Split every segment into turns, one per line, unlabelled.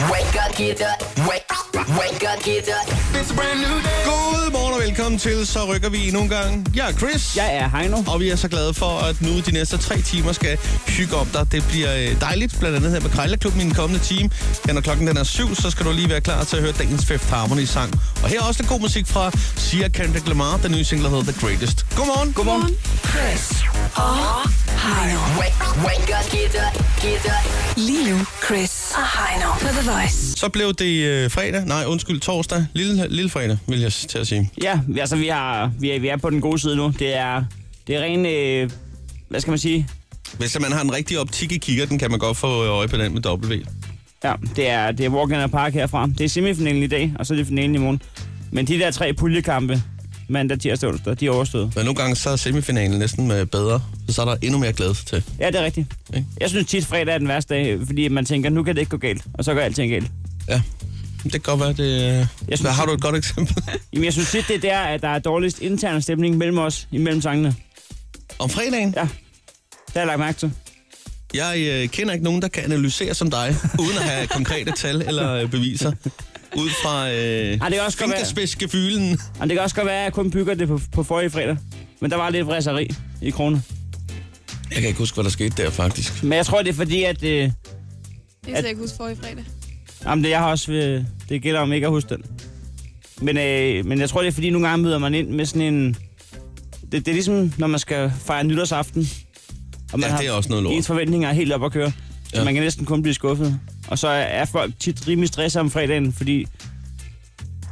get up. Wake, wake up, get up. It's a brand new day.
Godmorgen og velkommen til Så rykker vi endnu en gang. Jeg er Chris.
Jeg er Heino.
Og vi er så glade for, at nu de næste tre timer skal hygge om dig. Det bliver øh, dejligt, blandt andet her med Krejlerklubben i den kommende time. Ja, når klokken den er syv, så skal du lige være klar til at høre dagens Fifth Harmony-sang. Og her er også lidt god musik fra Sia Kendrick Lamar, den nye single, der hedder The Greatest. Godmorgen.
Godmorgen.
Chris og Heino. Wake, wake up, get up, get up.
Lige nu, Chris og Heino på The Voice.
Så blev det øh, fredag. Nej, undskyld, torsdag. Lille, lille fredag, vil jeg s- til at sige.
Ja, altså vi, har, vi, er, vi er på den gode side nu. Det er, det er ren, øh, hvad skal man sige?
Hvis man har en rigtig optik i kikkerten, kan man godt få øje på den med W.
Ja, det er, det er Walk in the Park herfra. Det er semifinalen i dag, og så er det finalen i morgen. Men de der tre puljekampe, mandag, tirsdag og onsdag, de er overstået.
Men nogle gange så er semifinalen næsten øh, bedre, så så er der endnu mere glæde sig til.
Ja, det er rigtigt.
Ikke?
Jeg synes tit fredag er den værste dag, fordi man tænker, nu kan det ikke gå galt, og så går alting galt.
Ja, det kan godt være, det... Jeg
synes-
synes, har du et godt eksempel?
Jamen, jeg synes tit, det er der, at der er dårligst intern stemning mellem os, imellem sangene.
Om fredagen?
Ja, det har jeg lagt mærke til.
Jeg øh, kender ikke nogen, der kan analysere som dig, uden at have konkrete tal eller øh, beviser. Ud fra øh,
Ej, det kan også godt være-
fingerspidsgefylen.
Og det kan også godt være, at jeg kun bygger det på, på forrige fredag. Men der var lidt vræseri i kroner.
Jeg kan ikke huske, hvad der skete der, faktisk.
Men jeg tror, det er fordi, at... Øh,
Det kan jeg ikke huske for i fredag.
jamen, det, jeg har også, øh, det gælder om ikke at huske den. Men, øh, men jeg tror, det er fordi, nogle gange møder man ind med sådan en... Det, det er ligesom, når man skal fejre nytårsaften. Og
Ja, det er også noget lort.
Ens forventninger er helt op at køre. Ja.
Ja.
Så man kan næsten kun blive skuffet. Og så er folk tit rimelig stresset om fredagen, fordi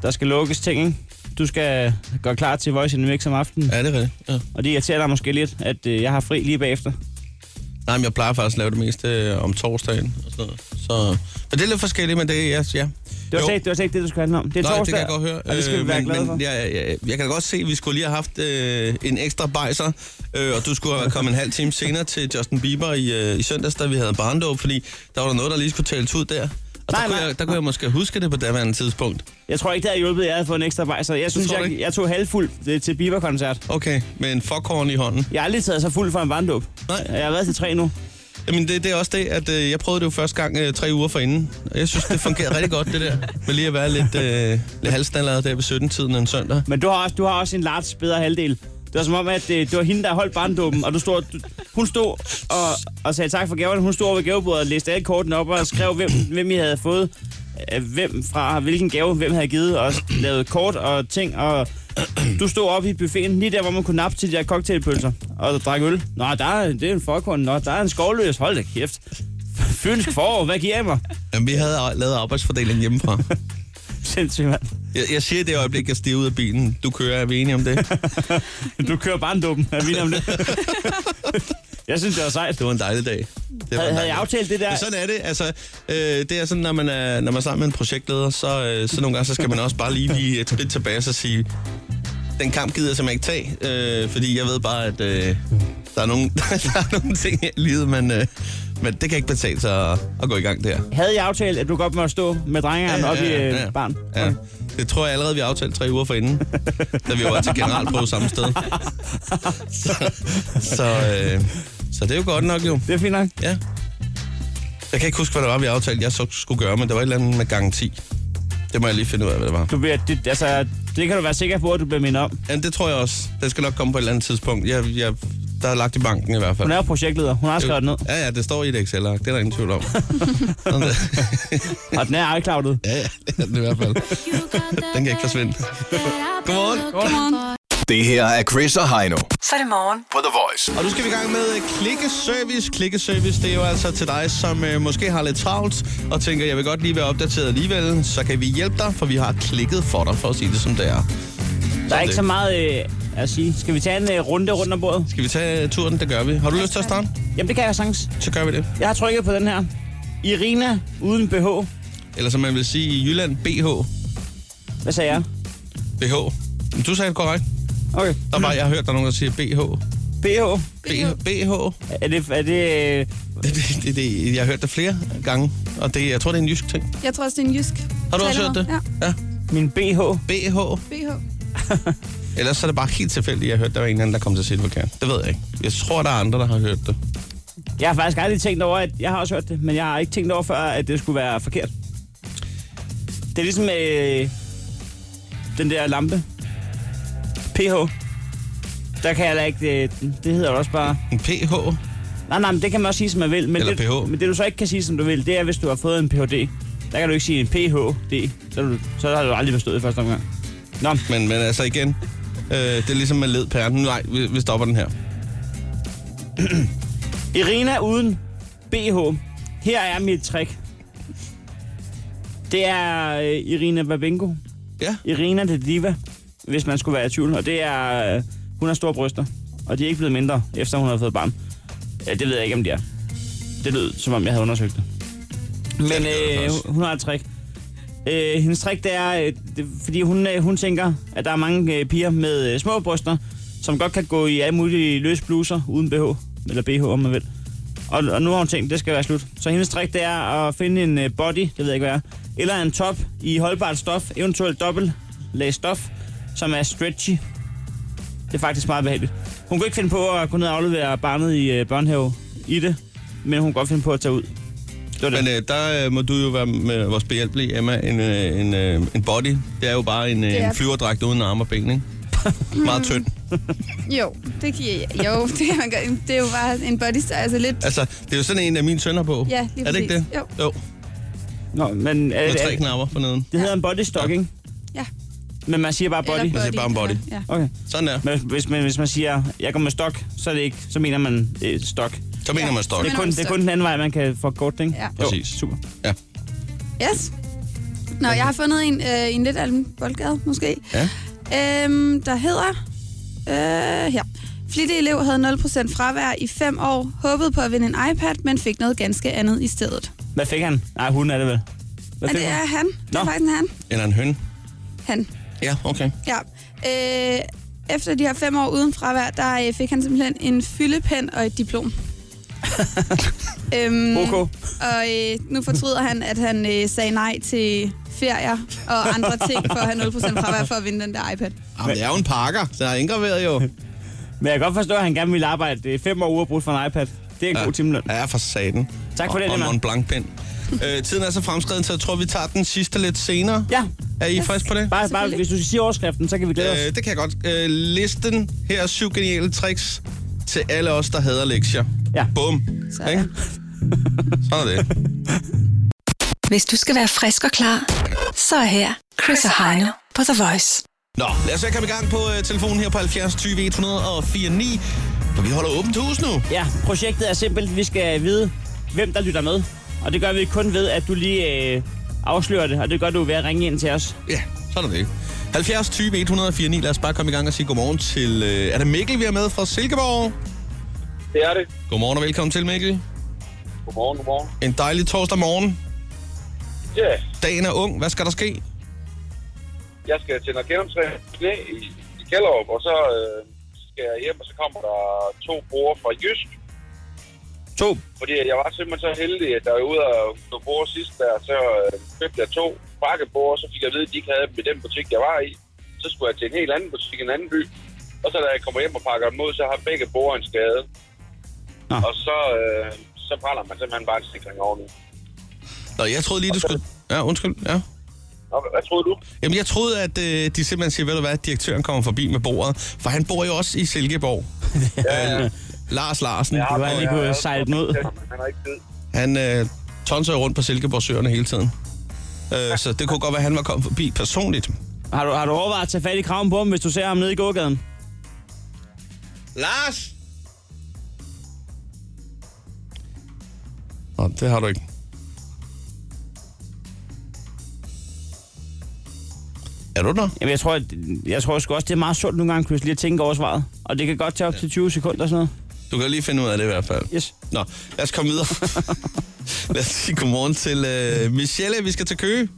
der skal lukkes ting, ikke? Du skal gøre klar til Voice in the Mix om aftenen.
Ja, det er rigtigt. Ja.
Og det irriterer dig måske lidt, at øh, jeg har fri lige bagefter.
Nej, men jeg plejer faktisk at lave det meste øh, om torsdagen. Og sådan noget. Så, men det er lidt forskelligt, men det er... Ja, ja.
Det var,
Jo.
slet, ikke- det var slet ikke det, du skulle handle om. Det er
Nej,
torsdag,
det kan jeg godt høre.
og det skal vi
Øh,
være
men,
glade
men
for.
Jeg, jeg, jeg kan da godt se, at vi skulle lige have haft øh, en ekstra bajser, øh, og du skulle have kommet en halv time senere til Justin Bieber i, øh, i søndags, da vi havde barndåb, fordi der var der noget, der lige skulle tales ud der. Og
Nej,
der, kunne
nej.
jeg, der kunne jeg måske huske det på daværende tidspunkt.
Jeg tror ikke, det havde hjulpet, at jeg havde fået en ekstra vej, så jeg synes,
tror du
jeg,
ikke?
jeg tog halvfuld øh, til Bieber-koncert.
Okay, med en foghorn i hånden.
Jeg har aldrig taget så fuld for en vanddåb.
Nej.
Jeg har været til tre nu.
Jamen, det, det er også det, at øh, jeg prøvede det jo første gang øh, tre uger forinden, og jeg synes, det fungerede rigtig godt, det der. Med lige at være lidt, øh, lidt halvstandladet der ved 17-tiden en søndag.
Men du har også, du har også en large bedre halvdel. Det var som om, at øh, det var hende, der holdt barndåben, og du stod, du, hun stod og, og sagde tak for gaverne. Hun stod over ved gavebordet og læste alle kortene op og skrev, hvem, hvem I havde fået, øh, hvem fra hvilken gave, hvem havde givet, og lavede kort og ting. Og du stod oppe i buffeten, lige der, hvor man kunne nappe til de her cocktailpølser og drak øl. Nå, der er, det er en forkorn. Nå, der er en skovløs. Hold da kæft. Fynsk forår, hvad giver I mig?
Jamen, vi havde øh, lavet arbejdsfordeling hjemmefra.
Sindssygt, mand.
Jeg, jeg siger i det øjeblik, jeg stiger ud af bilen. Du kører, er vi enige om det?
Du kører barndåben. Er vi enige om det? Jeg synes, det var sejt.
Det var en dejlig dag. Det var
Havde,
en
havde
dejlig
jeg
dag.
aftalt det der?
Men sådan er det. Altså, øh, det er sådan, når man er, når man er sammen med en projektleder, så, øh, så nogle gange så skal man også bare lige lige et skridt tilbage og så sige, den kamp gider jeg simpelthen ikke tage, øh, fordi jeg ved bare, at øh, der, er nogle, der er nogle ting i livet, men, øh, men det kan ikke betale sig at, at gå i gang der.
Havde jeg aftalt, at du godt måtte stå med drengeren ja, ja, ja, op i ja, ja. barn?
Ja. Det tror jeg allerede, vi aftalte tre uger forinden, da vi var til generalprøve samme sted. Så, så, øh, så det er jo godt nok jo.
Det er fint nok.
Ja. Jeg kan ikke huske, hvad det var, vi aftalte, jeg så skulle gøre, men det var et eller andet med garanti. Det må jeg lige finde ud af, hvad det var.
Du bliver, det, altså, det kan du være sikker på, at du bliver mindet om.
Ja, det tror jeg også. Det skal nok komme på et eller andet tidspunkt. Jeg, jeg, der er lagt i banken i hvert fald.
Hun er jo projektleder. Hun har skrevet den ned.
Ja, ja, det står i et Excel-ark. Det er der ingen tvivl om. Sådan er det.
Og den er iCloudet.
ja, ja, det er den i hvert fald. Den kan ikke forsvinde. Godmorgen.
Godmorgen.
Det her er Chris og Heino
Så er det morgen.
på The Voice.
Og nu skal vi i gang med øh, klikkeservice. Klikkeservice, det er jo altså til dig, som øh, måske har lidt travlt, og tænker, jeg vil godt lige være opdateret alligevel, så kan vi hjælpe dig, for vi har klikket for dig, for at sige det som det er.
Der er
det.
ikke så meget øh, at sige. Skal vi tage en øh, runde rundt om bordet?
Skal vi tage øh, turen? Det gør vi. Har du lyst til at starte?
Jamen, det kan jeg sagtens.
Så gør vi det.
Jeg har trykket på den her. Irina uden BH.
Eller som man vil sige i Jylland, BH.
Hvad sagde jeg?
BH. Men Du sagde det korrekt.
Okay.
Der var, jeg har hørt, der er nogen, der siger BH.
BH.
BH. BH.
Er det... Er det øh,
Det, det, det, det, jeg har hørt det flere gange, og det, jeg tror, det er en jysk ting.
Jeg tror også, det er en jysk.
Har du også hørt det?
Ja,
ja.
min BH?
BH.
BH.
Ellers så er det bare helt tilfældigt, jeg har hørt, der var en eller anden, der kom til at sige det forkert. Det ved jeg ikke. Jeg tror, der er andre, der har hørt det.
Jeg har faktisk aldrig tænkt over, at... Jeg har også hørt det, men jeg har ikke tænkt over før, at det skulle være forkert. Det er ligesom øh, den der lampe. PH. Der kan jeg heller ikke... Øh, det hedder jo også bare...
En pH?
Nej, nej, men det kan man også sige, som man vil. Men
Eller
det,
PH.
Men det, du så ikke kan sige, som du vil, det er, hvis du har fået en Ph.D. Der kan du ikke sige en Ph.D. Så, er du, så har du aldrig forstået det første omgang. Nå,
Men, men altså igen, øh, det er ligesom med led pæren. Nej, vi, vi stopper den her.
Irina uden BH. Her er mit trick. Det er øh, Irina Babenko.
Ja,
Irina the Diva, hvis man skulle være i tvivl. Og det er, øh, hun har store bryster. Og de er ikke blevet mindre, efter hun har fået barn. Ja, det ved jeg ikke, om de er. Det lød, som om jeg havde undersøgt det.
det
Men
gør det
øh,
faktisk.
hun har et trick. Øh, hendes trick, det er, øh, det, fordi hun, øh, hun tænker, at der er mange øh, piger med øh, små bryster, som godt kan gå i alle mulige løse bluser uden BH, eller BH om man vil. Og, og nu har hun tænkt, det skal være slut. Så hendes trick, det er at finde en øh, body, det ved jeg ikke hvad er, eller en top i holdbart stof, eventuelt dobbelt lag stof, som er stretchy. Det er faktisk meget behageligt. Hun kunne ikke finde på at gå ned og aflevere barnet i øh, børnehave i det, men hun kunne godt finde på at tage ud. Det var det.
men øh, der øh, må du jo være med vores behjælpelige, Emma. En, øh, en, øh, en body, det er jo bare en, øh,
Det er-
en flyverdragt uden arme og ben, ikke? Meget tynd.
Jo, det kan jeg, jo, det kan man gøre. Det er jo bare en body style, altså lidt...
Altså, det er jo sådan en, af mine sønner på.
Ja, lige
er det ikke det?
præcis. Jo.
jo
Nå, men er,
med tre
er,
knapper for neden.
det hedder en body stocking,
Ja,
men man siger bare
eller
body.
Man siger bare en body.
Ja.
Okay.
Sådan der.
Men hvis man, hvis man siger, jeg går med stok, så, er det ikke, så mener man øh, stok. Det
Så mener
Ja.
man stok.
Men
er,
om
kun, det er
stok.
kun den anden vej, man kan få kort, ikke?
Ja.
Præcis.
Jo, super.
Ja.
Yes. Nå, jeg har fundet en, øh, i en lidt anden boldgade, måske.
Ja.
Øhm, der hedder... Øh, her. Flittig elev havde 0% fravær i 5 år, håbede på at vinde en iPad, men fik noget ganske andet i stedet.
Hvad fik han? Nej, hun er det vel. Hvad
Og
fik
det
hun?
er han. Det er
Nå.
faktisk en han.
Eller en høn.
Han.
Ja, okay.
Ja. Øh, efter de her fem år uden fravær, der øh, fik han simpelthen en fyldepen og et diplom. øhm,
OK.
Og øh, nu fortryder han, at han øh, sagde nej til ferier og andre ting for at have 0% fravær for at vinde den der iPad.
Jamen, det er jo en pakker, så der er indgraveret jo.
Men jeg kan godt forstå, at han gerne ville arbejde øh, fem år uafbrudt for en iPad. Det er en ja. god timeløn.
Ja, for satan.
Tak for
og,
det,
Og
Emma.
en blank pen. øh, tiden er så fremskreden, så jeg tror, vi tager den sidste lidt senere.
Ja,
Er I friske på det?
bare, bare
Selvfølgelig.
hvis du siger overskriften, så kan vi glæde os.
Øh, det kan jeg godt. Øh, listen her er syv geniale tricks til alle os, der hader lektier.
Ja.
Bum.
Sådan.
Ikke? Sådan er det.
Hvis du skal være frisk og klar, så er her Chris og Heino på The Voice.
Nå, lad os se at komme i gang på øh, telefonen her på 70 20 104 9. For vi holder åbent hus nu.
Ja, projektet er simpelt. Vi skal vide, hvem der lytter med. Og det gør vi kun ved, at du lige øh, afslører det. Og det gør du ved at ringe ind til os.
Ja, sådan er det. 70 20 104 9. Lad os bare komme i gang og sige godmorgen til... Øh, er det Mikkel, vi er med fra Silkeborg?
Det er det.
Godmorgen og velkommen til, Mikkel.
Godmorgen, godmorgen.
En dejlig torsdag morgen.
Ja,
Dagen er ung. Hvad skal der ske?
jeg skal til noget gennemtræning knæ i, i Kjellerup, og så øh, skal jeg hjem, og så kommer der to brugere fra Jysk.
To.
Fordi jeg var simpelthen så heldig, at der var ude og få bruger sidst der, så øh, købte jeg to bakkebord, så fik jeg at vide, at de ikke havde dem i den butik, jeg var i. Så skulle jeg til en helt anden butik i en anden by. Og så da jeg kommer hjem og pakker dem ud, så har begge borger en skade.
Nå.
Og så, øh, så brænder man simpelthen bare en sikring oveni.
Nå, jeg troede lige, du skulle... Ja, undskyld. Ja.
Nå, hvad troede du?
Jamen, jeg troede, at øh, de simpelthen siger, ved du hvad, at direktøren kommer forbi med bordet. For han bor jo også i Silkeborg. ja. øh, Lars Larsen.
Ja,
Det var,
men
at I
jeg
kunne
har-
sejle den ud.
Han har ikke tid.
Han øh, tonser jo rundt på Silkeborg Søerne hele tiden. Øh, så det kunne godt være, at han var kommet forbi personligt.
Har du, har du overvejet at tage fat i kraven på ham, hvis du ser ham nede i gågaden?
Lars! Nå, det har du ikke. Er du der?
Jamen, jeg tror, at, jeg tror sgu også, det er meget sundt nogle gange, Chris, lige at tænke over svaret. Og det kan godt tage op til 20 sekunder og sådan noget.
Du kan lige finde ud af det i hvert fald.
Yes.
Nå, lad os komme videre. lad os sige godmorgen til øh, Michelle. Vi skal til Køge.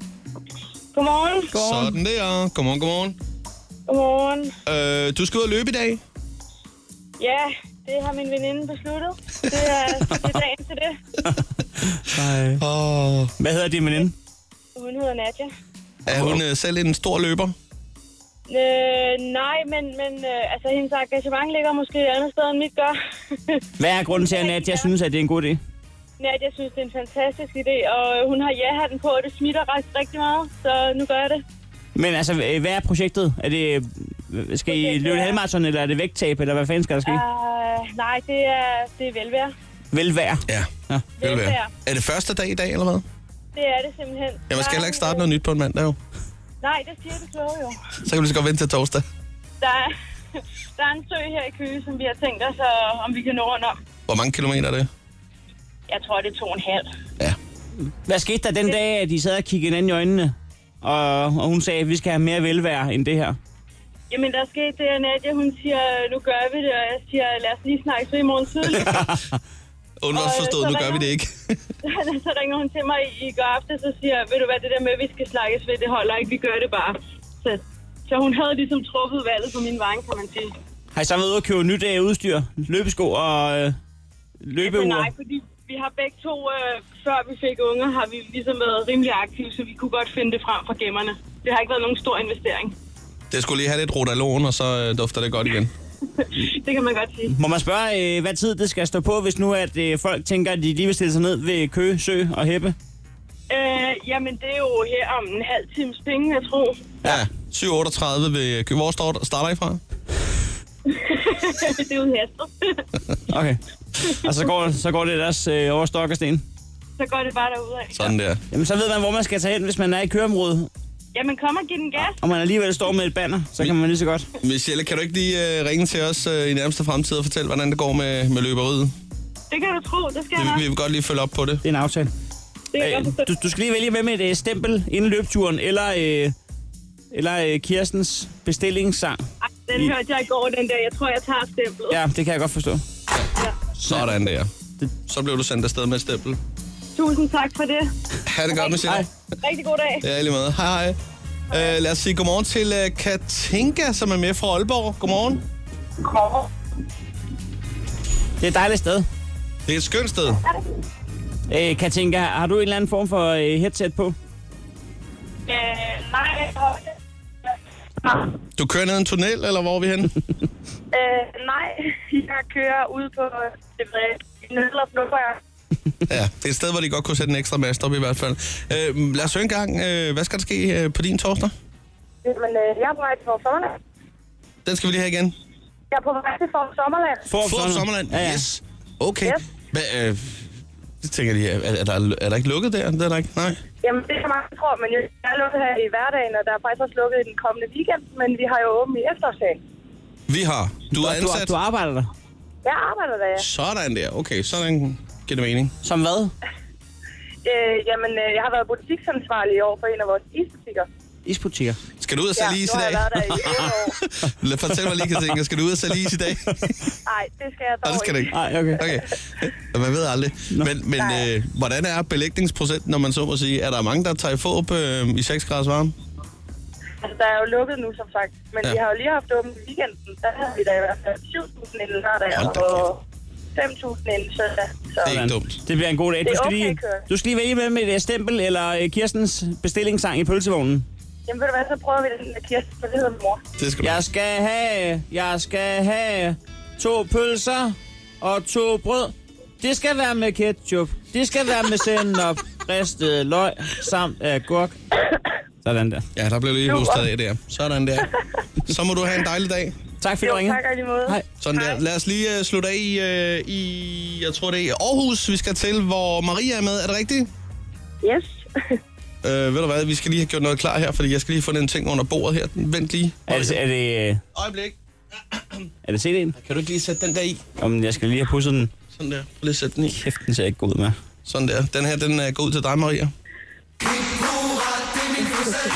Godmorgen.
Sådan der. Godmorgen, godmorgen.
Godmorgen.
Øh, du skal ud og løbe i dag.
Ja, det har min veninde besluttet. Det er, det er dagen til det.
Nej.
Oh.
Hvad hedder din veninde?
Hun hedder Nadja.
Er hun øh, selv en stor løber?
Øh, nej, men, men øh, altså, hendes engagement ligger måske et andet sted, end mit gør.
Hvad er grunden til, at Nadia synes, at det er en god idé?
Nej, jeg synes, det er en fantastisk idé, og øh, hun har ja-hatten på, og det smitter ret, rigtig meget, så nu gør jeg det.
Men altså, øh, hvad er projektet? Er det, øh, skal I
Projektet
løbe
er-
halvmarathon, eller er det vægttab, eller hvad fanden skal der
Mm.
ske?
Uh, nej, det er, det er velvære.
Velvære.
Ja.
Ja.
Vil det være.
Velfærd.
Er det første dag i dag, eller hvad?
Det er det simpelthen.
Ja, man skal heller ikke starte
nu.
noget nyt på en mandag, jo.
Nej, det siger du kloge jo.
Så kan vi lige så godt vente til torsdag.
Der er, der er en sø her i Køge, som vi har tænkt os, og, om vi kan nå rundt om.
Hvor mange kilometer er det?
Jeg tror, det er to og en halv.
Ja.
Hvad skete der den dag, at I sad og kiggede hinanden i øjnene, og, og hun sagde, at vi skal have mere velvære end det her?
Jamen, der skete det, at Nadia, hun siger, nu gør vi det, og jeg siger, lad os lige snakke så i morgen tidlig.
Underforstået,
Øh, så
nu gør vi
ringer-
det ikke.
så ringer hun til mig i, i går aftes og siger, ved du hvad, det der med, at vi skal snakkes ved, det holder ikke, vi gør det bare. Så, så hun havde ligesom truffet valget på min vej, kan man sige.
Har I så været ude og købe nyt øh, udstyr? Løbesko og øh,
Men
løbeure?
nej, fordi vi har begge to, øh, før vi fik unger, har vi ligesom været rimelig aktive, så vi kunne godt finde det frem fra gemmerne. Det har ikke været nogen stor investering.
Det skulle lige have lidt rotalon, og så øh, dufter det godt igen.
Det kan man godt sige.
Må man spørge, øh, hvad tid det skal stå på, hvis nu at øh, folk tænker, at de lige vil stille sig ned ved Køge, Sø og Heppe?
Øh, jamen, det er jo her om en halv times penge, jeg tror.
Ja. 7.38 ved Kø. Hvor står- starter I fra?
det er jo hæstet.
Okay. Og så går, så går det ellers øh, over stok og sten.
så går det bare derudad.
Sådan der.
Jamen, så ved man, hvor man skal tage hen, hvis man er i køreområdet,
Jamen, kom og giv den gas.
og man alligevel står med et banner, så kan man lige så godt.
Michelle, kan du ikke lige øh, ringe til os øh, i nærmeste fremtid og fortælle, hvordan det går med, med løberiet?
Det kan du tro, det skal jeg nok.
Vi, vi vil godt lige følge op på det.
Det er en aftale.
Det kan jeg
Øh,
godt forstå.
du, du skal lige vælge, hvem et øh, stempel inden løbeturen, eller, øh, eller øh, Kirstens bestillingssang.
Ej, Den hørte jeg i går den der. Jeg tror, jeg tager stemplet.
Ja, det kan jeg godt forstå.
Sådan der. Så blev du sendt afsted med et stempel.
Tusind tak for det.
Ha' det godt, Michelle.
Hej.
Rigtig god dag.
Ja, i lige måde. Hej, hej. Uh, lad os sige godmorgen til uh, Katinka, som er med fra Aalborg. Godmorgen.
Det er et dejligt sted.
Det er et skønt sted.
Øh, Katinka, har du en eller anden form for øh, headset på?
Øh, nej,
Du kører ned ad en tunnel, eller hvor er vi henne?
øh, nej, jeg kører ud på, øh, det ved jeg, Nødler Blåbær.
ja, det er et sted, hvor de godt kunne sætte en ekstra mast op i hvert fald. Uh, lad os høre en gang. Uh, hvad skal der ske uh, på din torsdag?
Jamen, øh, jeg er på vej til vores sommerland.
Den skal vi lige have igen.
Jeg er på vej til vores sommerland.
For
Få Sommerland.
Ja, ja.
Yes. Okay.
Yes.
Hva, øh, det tænker jeg lige, er, er, der, er der ikke lukket der? Det er der ikke. Nej.
Jamen, det kan mange tro, men jeg er lukket her i hverdagen, og der er faktisk også lukket i den kommende weekend, men vi har jo åbent i efterårsdagen.
Vi har. Du er
Du,
ansat.
du arbejder der.
Jeg arbejder der, ja.
Sådan der. Okay, sådan giver det mening.
Som hvad?
Øh, jamen, øh, jeg har været butiksansvarlig i år for en af vores isbutikker.
Isbutikker.
Skal du ud og sælge is
nu
i
har
dag?
jeg været der i 11 år.
Lad- Fortæl mig lige, Katinka. Skal du ud og sælge is i dag?
Nej, det skal jeg dog
Nej, det skal du ikke.
Nej, okay.
Okay. Man ved aldrig. Men, men øh, hvordan er belægningsprocenten, når man så må sige? Er der mange, der tager i fåb øh, i 6 grader varme?
Altså, der er jo lukket nu, som sagt. Men
Ja.
ja. vi har jo lige haft åbent i weekenden. Der havde vi da i hvert fald 7.000 inden lørdag
Hold da
og 5.000 inden søndag. Så
Det er ikke dumt.
Det bliver en god dag.
Det
Du
er
skal,
okay,
lige,
Kurt.
du skal lige vælge mellem et øh, stempel eller øh, Kirstens bestillingssang i pølsevognen.
jamen, ved du hvad, så prøver vi den med Kirsten, for det hedder min mor.
Det skal du.
Jeg skal have, jeg skal have to pølser og to brød. Det skal være med ketchup. Det skal være med sennep, ristet løg samt agurk. Sådan der.
Ja, der blev lige hostet af der. Sådan der. Så må du have en dejlig dag.
Tak fordi
Jo,
du ringede.
tak og i lige måde.
Hej.
Sådan der. Lad os lige uh, slutte af i, uh, i, jeg tror det er i Aarhus, vi skal til, hvor Maria er med. Er det rigtigt?
Yes.
Uh, ved du hvad, vi skal lige have gjort noget klar her, fordi jeg skal lige få den ting under bordet her. Vent lige.
Er det, er det, øh,
Øjeblik.
er det CD'en?
Kan du ikke lige sætte den der i?
Jamen, jeg skal lige have pudset den.
Sådan der. Prøv lige at sætte den i.
Kæft, den ser ikke god ud med.
Sådan der. Den her, den er god til dig, Maria.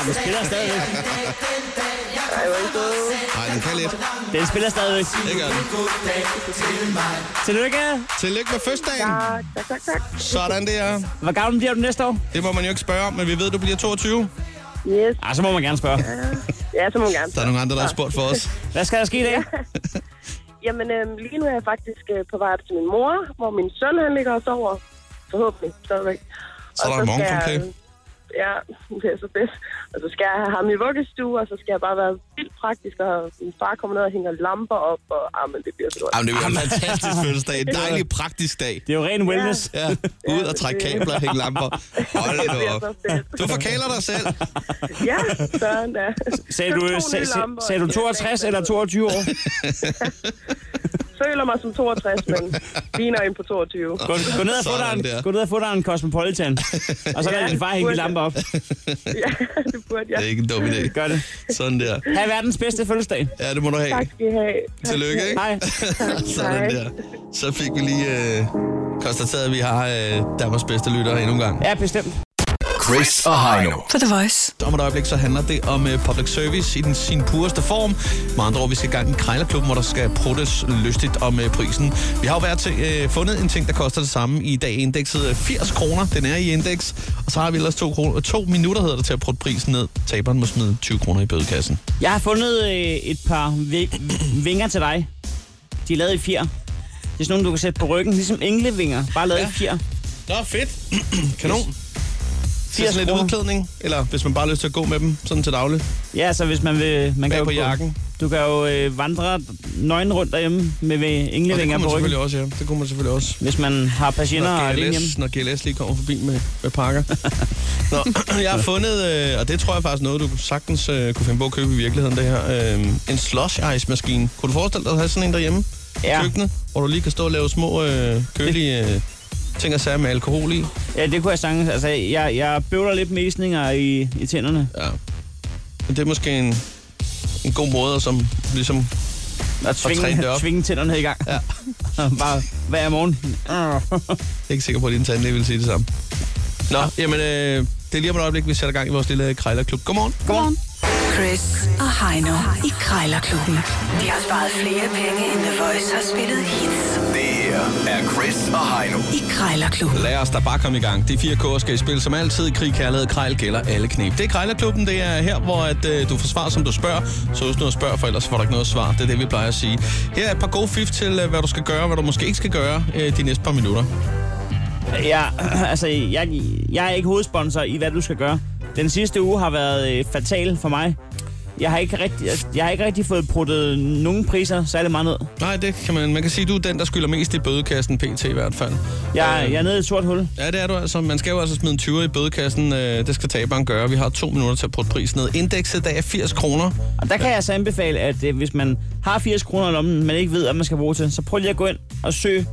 Den spiller stadigvæk.
Nej, den kan lidt.
Den spiller stadigvæk.
Det gør den.
Tillykke.
Tillykke med fødselsdagen.
Tak, Ah, tak, tak, tak.
Sådan der.
Hvor gammel bliver du næste år?
Det må man jo ikke spørge om, men vi ved, du bliver 22.
Yes.
Ah, så må man gerne spørge.
Ja, så må man gerne.
Der er nogle andre, der har spurgt for os.
Hvad skal der ske i dag?
Jamen, øhm, lige nu er jeg faktisk øh, på vej op til min mor, hvor min søn han ligger og sover. Forhåbentlig, stadigvæk.
Så er der morgenkomplet.
øh,
ja, det er så fedt. Og så skal jeg have ham i vuggestue, og så skal jeg bare være vildt praktisk, og min far kommer ned og hænger lamper op, og ah, men det bliver stort.
Jamen, det er en Ah, fantastisk fødselsdag. En dejlig, praktisk dag.
Det er jo ren wellness.
Ja, ud og trække kabler og hænge lamper. Hold
det
da
bliver
op.
så fedt.
Du forkæler dig selv.
Ja, sådan da.
Sagde
Så
du,
to nye
sag, sag,
lamper,
sagde du
og-
62 eller 22 år?
Føler mig som 62, men ligner en på 22.
Gå, gå, ned, og få dig
Sådan der.
en, gå ned og få dig en Cosmopolitan. Og så lader din far hænge de lamper op.
Ja, det burde jeg.
Det er ikke en dum idé.
Gør det.
Sådan der.
Ha' verdens bedste fødselsdag.
Ja, det må du have.
Tak skal I have.
Tillykke, ikke?
Hej.
Sådan der. Så fik vi lige øh, konstateret, at vi har øh, Danmarks bedste lytter endnu en gang.
Ja, bestemt.
Chris og Heino.
På The Voice.
Om et øjeblik så handler det om øh, public service i den, sin pureste form. Med andre ord, vi skal i gang i Krejlerklubben, hvor der skal prutes lystigt om øh, prisen. Vi har jo været til, øh, fundet en ting, der koster det samme. I dag er indekset øh, 80 kroner. Den er i indeks. Og så har vi ellers to, kroner, to minutter hedder det, til at prutte prisen ned. Taberen må smide 20 kroner i bødekassen.
Jeg har fundet øh, et par vi- vinger til dig. De er lavet i fjer. Det er sådan nogle, du kan sætte på ryggen, ligesom englevinger, bare lavet ja. i fjer.
Nå, fedt. Kanon. Til
80
sådan lidt
kroner.
udklædning, eller hvis man bare har lyst til at gå med dem, sådan til daglig.
Ja, så hvis man vil... Man
Bag
jo
på
gå-
jakken.
Du kan jo øh, vandre nøgen rundt derhjemme med, med
Og det
englevinger
kunne man
på ryggen.
selvfølgelig også, ja. Det kunne man selvfølgelig også.
Hvis man har patienter og er
når
alene hjemme.
GLS, når GLS lige kommer forbi med, med pakker. Nå, jeg har fundet, øh, og det tror jeg faktisk noget, du sagtens øh, kunne finde på at købe i virkeligheden, det her. Øh, en slush ice maskine. Kunne du forestille dig at have sådan en derhjemme?
Ja.
I køkkenet, hvor du lige kan stå og lave små øh, kølige øh, ting og sager med alkohol i.
Ja, det kunne jeg sagtens. Altså, jeg, jeg bøvler lidt med isninger i, i tænderne.
Ja. Men det er måske en, en god måde, at som ligesom...
Og
træne det
tvinge,
op.
tvinge tænderne i gang.
Ja.
Bare hver morgen.
Jeg er ikke sikker på, at din tandlæge vil sige det samme. Nå, jamen, øh, det er lige om et øjeblik, vi sætter gang i vores lille krejlerklub. Godmorgen.
Godmorgen.
Chris og Heino i Krejlerklubben. De har sparet flere penge, end The Voice har spillet hits
Det her er Chris og Heino.
i Krejlerklubben.
Lad os da bare komme i gang. De fire kår skal i spil som altid. Krig, kærlighed, krejl gælder alle knep. Det er Krejlerklubben. Det er her, hvor at, øh, du får svar, som du spørger. Så husk nu at spørge, for ellers får du ikke noget svar. Det er det, vi plejer at sige. Her er et par gode fif til, øh, hvad du skal gøre, hvad du måske ikke skal gøre øh, de næste par minutter.
Ja, altså, jeg, jeg er ikke hovedsponsor i, hvad du skal gøre. Den sidste uge har været øh, fatal for mig. Jeg har, ikke rigtig, jeg har ikke rigtig fået pruttet nogen priser særlig meget ned.
Nej, det kan man. Man kan sige, at du er den, der skylder mest i bødekassen, pt. i hvert fald.
Jeg, jeg er nede i et sort hul.
Ja, det er du altså. Man skal jo altså smide en 20 i bødekassen. Øh, det skal taberen gøre. Vi har to minutter til at putte prisen ned. Indekset i dag er 80 kroner.
Og der kan jeg så anbefale, at øh, hvis man har 80 kroner i lommen, man ikke ved, hvad man skal bruge til, så prøv lige at gå ind og søg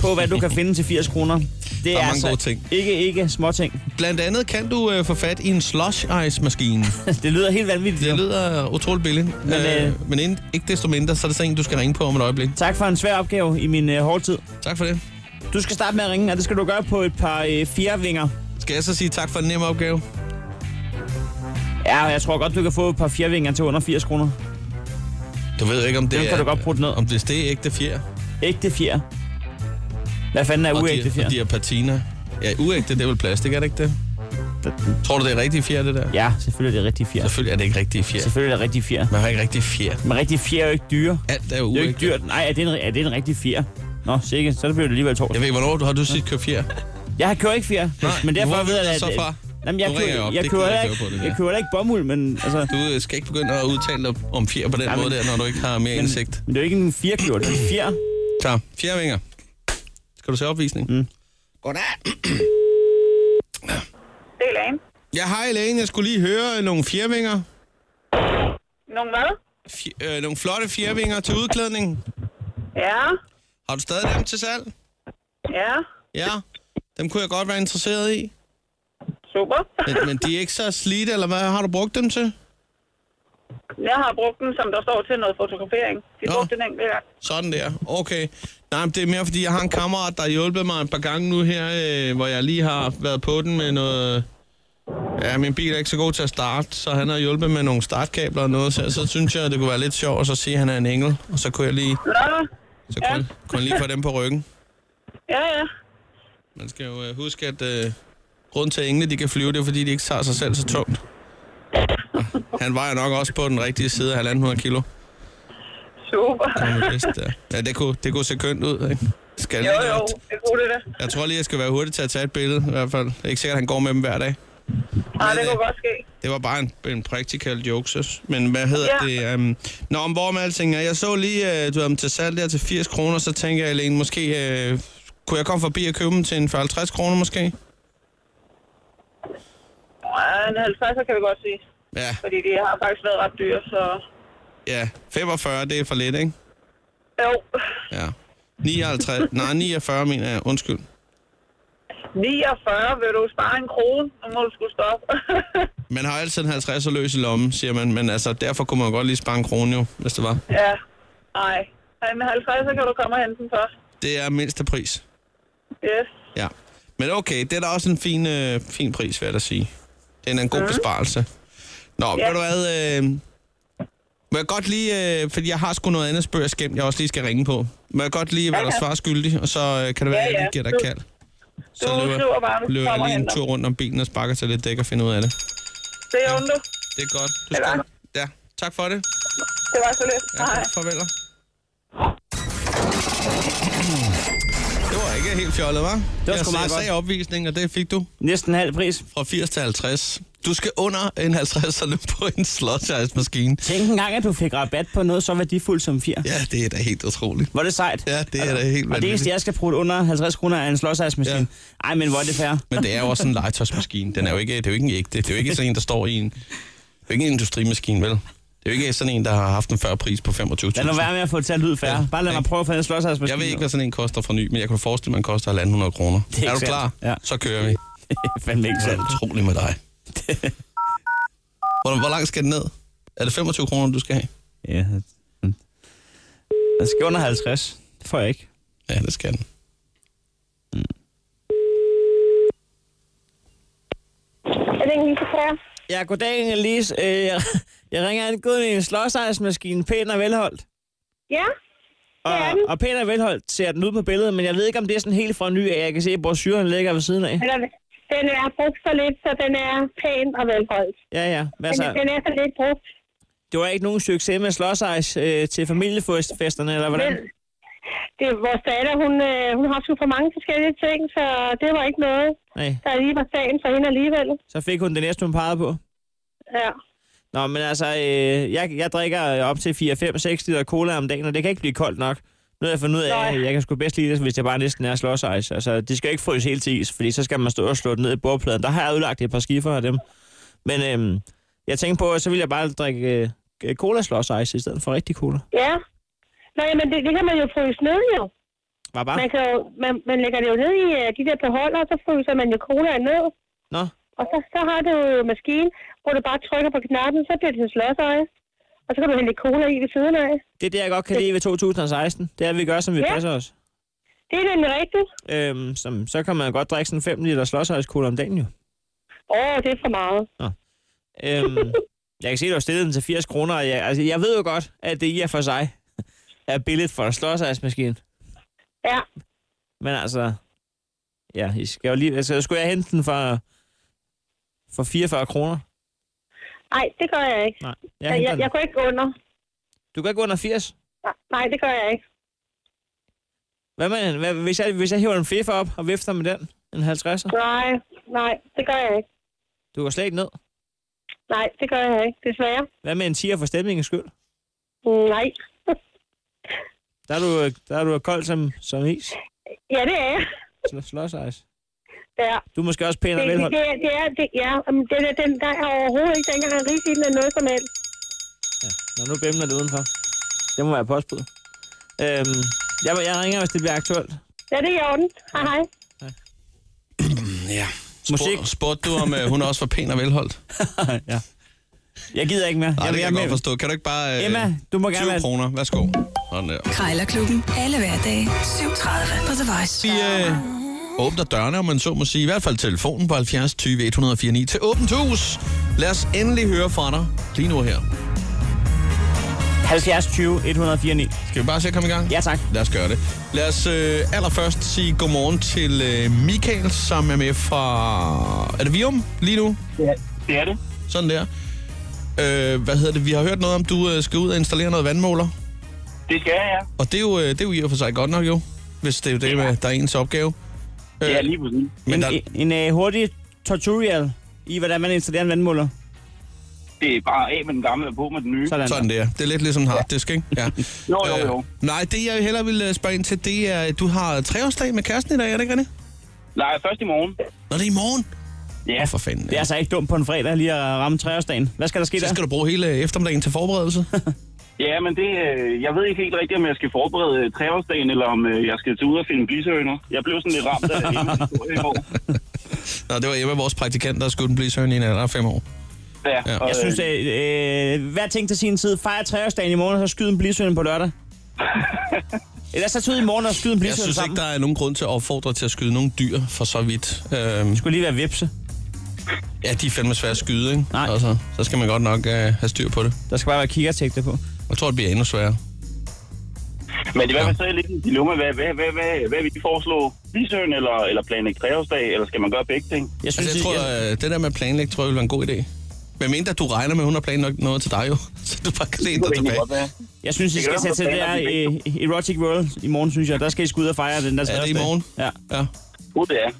på, hvad du kan finde til 80 kroner. Det
er
er
mange
altså
gode ting.
ikke, ikke småting.
Blandt andet kan du øh, få fat i en slush ice-maskine.
Det lyder helt vanvittigt.
Det
jo.
lyder utroligt billigt, men, øh,
øh,
men ind, ikke desto mindre, så er det sådan en, du skal ringe på om et øjeblik.
Tak for en svær opgave i min øh, hårde tid.
Tak for det.
Du skal starte med at ringe, og det skal du gøre på et par øh, fjervinger.
Skal jeg så sige tak for den nemme opgave?
Ja, og jeg tror godt, du kan få et par fjervinger til under 80 kroner.
Du ved ikke, om det
Dem
er...
kan du godt putte ned.
Om det, det er ægte fjer.
Ægte fjer. Hvad fanden er
og,
uægte
de,
fjer?
og de er patina. Ja, uægte, det er vel plastik, er det ikke det? Tror du, det er rigtige fjer, det der?
Ja, selvfølgelig er det rigtig fjer.
Selvfølgelig er det ikke rigtige fjer.
Selvfølgelig er det rigtig fjer.
Man har ikke rigtige fjer.
Men rigtig fjer er jo ikke dyre.
Alt er jo
Det er jo
uægte.
ikke dyrt. Nej, er det en, er det en rigtig fjer? Nå, sikkert. Så bliver det alligevel tårt.
Jeg ved ikke, hvornår du har du sidst købt fjer.
Jeg har kørt ikke fjer, men derfor
hvor
ved
ved
jeg,
jeg
at...
så fra?
Jamen, jeg,
Nu ringer jeg
kører,
op.
jeg,
Det
kører
gider jeg
heller ikke,
ikke høre på, det
jeg
der.
kører heller ikke bomuld, men altså...
Du øh, skal ikke begynde at udtale dig om fjer på den
Nej, men-
måde der, når du ikke har mere
Men,
indsigt.
men det er jo ikke en fjerkjort, det er en fjer.
Klar. Fjerde vinger. Skal du se opvisning? Mm. Goddag.
Det er Lane.
Ja, hej Elaine. Jeg skulle lige høre øh, nogle fjervinger.
Nogle hvad?
Fj- øh, nogle flotte fjervinger til udklædning.
Ja,
Har du stadig dem til salg?
ja.
Ja. Dem kunne jeg godt være interesseret i.
Super.
Men, men de er ikke så slidte, eller hvad har du brugt dem til?
Jeg har brugt den, som der står til noget fotografering. Vi
Nå.
brugte den enkelt gang.
Sådan der. Okay. Nej, men det er mere, fordi jeg har en kammerat, der har hjulpet mig et par gange nu her, øh, hvor jeg lige har været på den med noget... Ja, min bil er ikke så god til at starte, så han har hjulpet med nogle startkabler og noget, så, så synes jeg, det kunne være lidt sjovt at så sige, at han er en engel, og så kunne jeg lige,
Nå,
så kunne, kunne lige få dem på ryggen.
ja, ja.
Man skal jo øh, huske, at øh, grunden til, at engle de kan flyve, det er, fordi de ikke tager sig selv så tungt. Han vejer nok også på den rigtige side af 1.500 kilo.
Super.
Han er bedst der. Ja, det kunne, det kunne se kønt ud, ikke? Skal
Jo,
lige
jo.
nok-
Det kunne det da.
Jeg tror lige, jeg skal være hurtig til at tage et billede, i hvert fald. Det er ikke sikkert, at han går med dem hver dag.
Nej,
Men,
det
øh,
kunne godt ske.
Det var bare en, en practical joke, søs. Men hvad hedder
Ja.
det? Um... Nå, om hvor med alting er. Jeg så lige, øh, du havde dem til salg der til 80 kroner, så tænker jeg, Helene, måske... Øh, kunne jeg komme forbi og købe dem til en 40-50 kroner måske?
Ja, en 50 kan vi godt sige.
Ja,
Fordi de har faktisk været ret dyre, så...
ja. 45, det er for lidt, ikke?
Jo,
Ja. 59, nej, 49 mener jeg. Undskyld.
49 vil du spare en krone, nu må du skulle stoppe.
Man har altid en 50'er løs i lommen, siger man, men altså, derfor kunne man godt lige spare en krone jo, hvis det var.
ja, nej. En 50 kan du komme og hente den først.
Det er mindste pris.
Yes.
Ja. Men okay, det er da også en fin, øh, fin pris, vil jeg da sige. Det er en- en god besparelse. Nå, ja. ved du hvad... Øh, må jeg godt lige... Øh, fordi jeg har sgu noget andet spørg skæmt, jeg også lige skal ringe på. Må jeg godt lige være der svar skyldig, og så øh, kan det være, at jeg
ja.
lige giver dig
Du-
kald. Så
du skriver bare, hvis du
løber jeg
kommer
lige en
hen,
tur rundt om bilen og sparker til lidt dæk og finder ud af det.
Det er ondt.
Det er godt. Du
Det er
skal... Ja, tak for det.
Det var så lidt.
Ja,
Hej.
farvel. Det var ikke helt fjollet, hva'? Det
var
jeg,
sgu meget
jeg sagde opvisning, og det fik du.
Næsten halv pris.
Fra 80 til 50. Du skal under en 50 og løbe på en slotsjejsmaskine.
Tænk engang, at du fik rabat på noget så værdifuldt som 4.
Ja, det er da helt utroligt.
Hvor er det sejt.
Ja, det er da
Altså,
helt
Og det eneste,
vanvittigt.
jeg skal bruge under 50 kroner, er en slåsejsmaskine. Ja. Ej, men hvor er det fair.
Men det er jo også en legetøjsmaskine. Den er jo ikke, det er jo ikke en ægte. Det er jo ikke sådan en, der står i en... Det er jo ikke en industrimaskine, vel? Det er jo ikke sådan en, der har haft en før pris på 25.000.
Lad nu være med at få talt ud færre.
Ja.
Bare lad mig prøve at få en slåsejsmaskine.
Jeg ved ikke, hvad sådan en koster for ny, men jeg kunne forestille mig, at den koster 1.500 kroner.
Det er
Er, er du
ikke
klar?
sandt. Ja.
Så kører vi.
fandme ikke
Det
selv.
er utroligt med dig. Hvor, hvor langt skal den ned? Er det 25 kroner, du skal have?
Ja. Den skal under 50. Det får jeg ikke.
Ja, det skal den.
Er det en hilsekræer?
Ja, goddag, Elise. Øh, jeg, jeg ringer angående en slåsejsmaskine, pænt og velholdt.
Ja,
Og,
er den.
og pænt og velholdt ser den ud på billedet, men jeg ved ikke, om det er sådan helt fra ny af. Jeg kan se, hvor syren ligger ved siden af.
eller den er brugt så lidt, så den er pæn og velholdt.
Ja, ja. Hvad
Den,
så?
den er så lidt brugt.
Det var ikke nogen succes med slåsejs øh, til familiefesterne, eller hvordan?
Men det, vores datter, hun, øh, hun har sgu for mange forskellige ting, så det var ikke noget,
Nej,
der lige var sagen for hende alligevel.
så fik hun det næste, hun pegede på.
Ja.
Nå, men altså, øh, jeg, jeg drikker op til 4-5-6 liter cola om dagen, og det kan ikke blive koldt nok. Nu har jeg fundet ud af,
Nej.
at jeg kan sgu bedst lide det, hvis det bare næsten er slåsejs. Altså, det skal jo ikke fryse helt til is, fordi så skal man stå og slå det ned i bordpladen. Der har jeg udlagt et par skifer af dem. Men øhm, jeg tænkte på, at så vil jeg bare drikke øh, cola slåsejs i stedet for rigtig cola.
Ja. Nå, jamen, det, det kan man jo fryse ned, jo.
Var bare?
Man, kan jo man, man lægger det jo ned i øh, de der beholder, og så fryser man jo colaen ned.
Nå,
Og så, så har du jo en maskine, hvor du bare trykker på knappen, så bliver det til slåsøje. Og så kan du hælde lidt cola i ved siden af.
det er det, jeg godt kan lide ved 2016. Det er, at vi gør, som vi
Ja.
passer os.
Det er nemlig rigtigt.
Øhm, som, så kan man godt drikke sådan 5 liter slåsøjskola om dagen jo.
Åh, det er for meget.
Øhm, jeg kan se, at du har stillet den til 80 kroner. og Jeg, altså, jeg ved jo godt, at det i og for sig er billigt for en slåsejsmaskine.
Ja.
Men altså, ja, I skal jo lige, altså, skulle jeg hente den for, for 44 kroner?
Nej, det gør jeg ikke.
Nej, jeg,
Jeg,
henter
jeg, jeg
den.
går ikke under.
Du kan ikke gå under 80.
Nej, Nej, det gør jeg ikke.
Hvad med, hvad, hvis, jeg, hvis jeg hiver en fiffer op og vifter med den, en 50'er,
Nej, nej, det gør jeg ikke.
du går slet ikke ned.
Nej, det gør jeg ikke, desværre.
Hvad med en 10'er for stemningens skyld?
Mm, Nej.
Der er du, der er du kold som, som is.
Ja, det er jeg.
Sl- Slåsejs.
Ja.
Du er måske også pæn
Det,
og
det,
velholdt.
det, er, det er, det, ja, Jamen, den, er- den, der er overhovedet ikke dengang en rigtig eller noget som helst.
Ja. Nå, nu bimler det udenfor. Det må være postbud. Øhm, jeg, jeg ringer, hvis det bliver aktuelt.
Ja, det er i orden. Hej, hej.
Ja.
Musik.
Spurgte du, om øh, hun også var pæn og velholdt?
ja. Jeg gider ikke mere.
Nej,
jeg,
det kan jeg
jeg,
godt forstå. Kan du ikke bare... Øh,
Emma, du må gerne
20
være-
kroner. Værsgo. Sådan der.
Krejlerklubben. Alle hverdage 7.30 på The Voice.
Vi øh, åbner dørene, om man så må sige. I hvert fald telefonen på 70 20 104 9 til åbent hus. Lad os endelig høre fra dig lige nu her.
70 20 104 9.
Skal vi bare se at komme i gang?
Ja, tak.
Lad os gøre det. Lad os øh, allerførst sige godmorgen til øh, Michael, som er med fra... Er det Vium lige nu?
Det er det.
Sådan der. Øh, hvad hedder det? Vi har hørt noget om, du øh, skal ud og installere noget vandmåler.
Det skal jeg, ja.
Og det er jo, øh, det er jo i og for sig godt nok jo, hvis det er jo det, ja. der er ens opgave. Øh,
Det er lige præcis.
men
En,
der,
en, en uh, hurtig tutorial i, hvordan man installerer en vandmåler.
Det er bare af med den gamle og på med den nye.
Sådan.
Sådan der. Det er lidt ligesom en harddisk, ikke? Ja.
Jo, jo, jo.
Øh, nej, det jeg hellere vil øh, spørge ind til, det er, at du har treårsdag med kæresten i dag, er det ikke rigtigt?
Nej, først i morgen.
Nå, det er i morgen.
Ja.
Åh, for fanden.
Det er altså ikke dumt på en fredag lige at ramme treårsdagen. Hvad skal der ske
Så
der?
skal du bruge hele eftermiddagen til forberedelse.
Ja, men det, øh, jeg ved ikke helt rigtigt, om jeg skal forberede øh, treårsdagen, eller om øh, jeg skal tage ud og finde blisøgner. Jeg blev sådan lidt ramt af Emmas historie i går.
Nå, det var Emma, vores praktikant, der skulle blive søvn i en alder af fem år.
Ja,
Ja.
og,
Jeg synes,
øh,
at, øh, hver ting til sin tid. Fejre treårsdagen i morgen, og så skyde en blisøn på lørdag. Ellers så tog i morgen og skyde en
Jeg
blisøn
synes
sammen.
ikke,
Det
der er nogen grund til at opfordre til at skyde nogle dyr for så vidt. Øhm,
skulle lige være vipse.
ja, de er fandme svære at skyde, ikke?
Nej.
Altså, så skal man godt nok øh, have styr på det.
Der skal bare være kikkertægte på.
Jeg tror, det bliver endnu sværere.
men i hvert fald så er jeg lidt i et dilemma. Hvad, hvad, hvad, hvad, hvad vil de foreslå? Blisøgn eller, eller planlægge treårsdag, eller skal man gøre begge ting?
Jeg synes,
Altså, jeg
det-
tror, øh, det der med at planlægge, tror jeg, vil være en god idé. Men mindre du regner med, at hun har planlagt noget til dig jo, så du bare kan læne dig tilbage.
Jeg synes, I
Det
skal
kan
sætte til det
være,
der
at vi
øh, Erotic World i morgen, synes jeg. Der skal I skulle ud og fejre den der
Er det i
treårsdag.
morgen?
Ja.
Ja.
Jo, det er.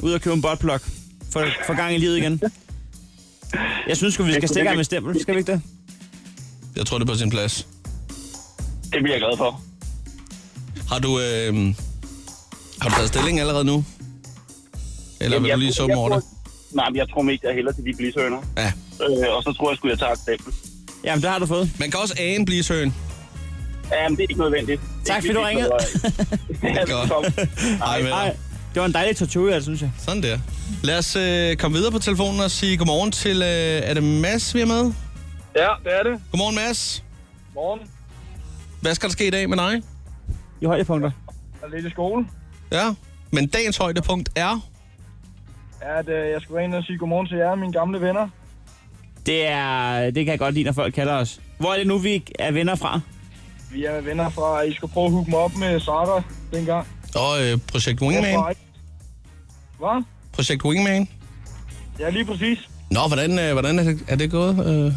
Ud og købe en botplug. For, for gang i livet igen. Jeg synes sgu, vi skal stikke af med stempel. Skal vi ikke det?
Jeg tror, det er på sin plads.
Det bliver jeg glad for.
Har du, øh, har du taget stilling allerede nu? Eller vil
jeg
du lige
tror-
summe
jeg
over det?
tror- Nej, men jeg tror mest, jeg hælder til de blisøgner.
Ja.
Øh, og så tror jeg, skulle jeg tage et stempel.
Jamen, det har du fået.
Man kan også ane blive søen.
Ja, men det er ikke nødvendigt. Det er
Tak,
ikke
fordi du
vigtigt, så- Ja,
Godt.
velkommen.
Ej, venner.
Nej, det var en dejlig tortue, synes jeg.
Sådan der. Lad os øh, komme videre på telefonen og sige godmorgen til... Øh, er det Mads, vi er med?
Ja, det er det.
Godmorgen, Mads.
Morgen.
Hvad skal der ske i dag med dig?
I højdepunkter.
Jeg er lidt i skole.
Ja. Men dagens højdepunkt er...
At, øh, jeg skulle være inde og sige godmorgen til jer, mine gamle venner.
Det, er, det kan jeg godt lide, når folk kalder os. Hvor er det nu, vi er venner fra?
Vi er venner fra, at I skulle prøve at hooke mig op med Sara dengang.
Og øh, Projekt Wingman.
Hvad?
Projekt Wingman.
Ja, lige præcis.
Nå, hvordan, øh, hvordan er, det, er det gået? Øh,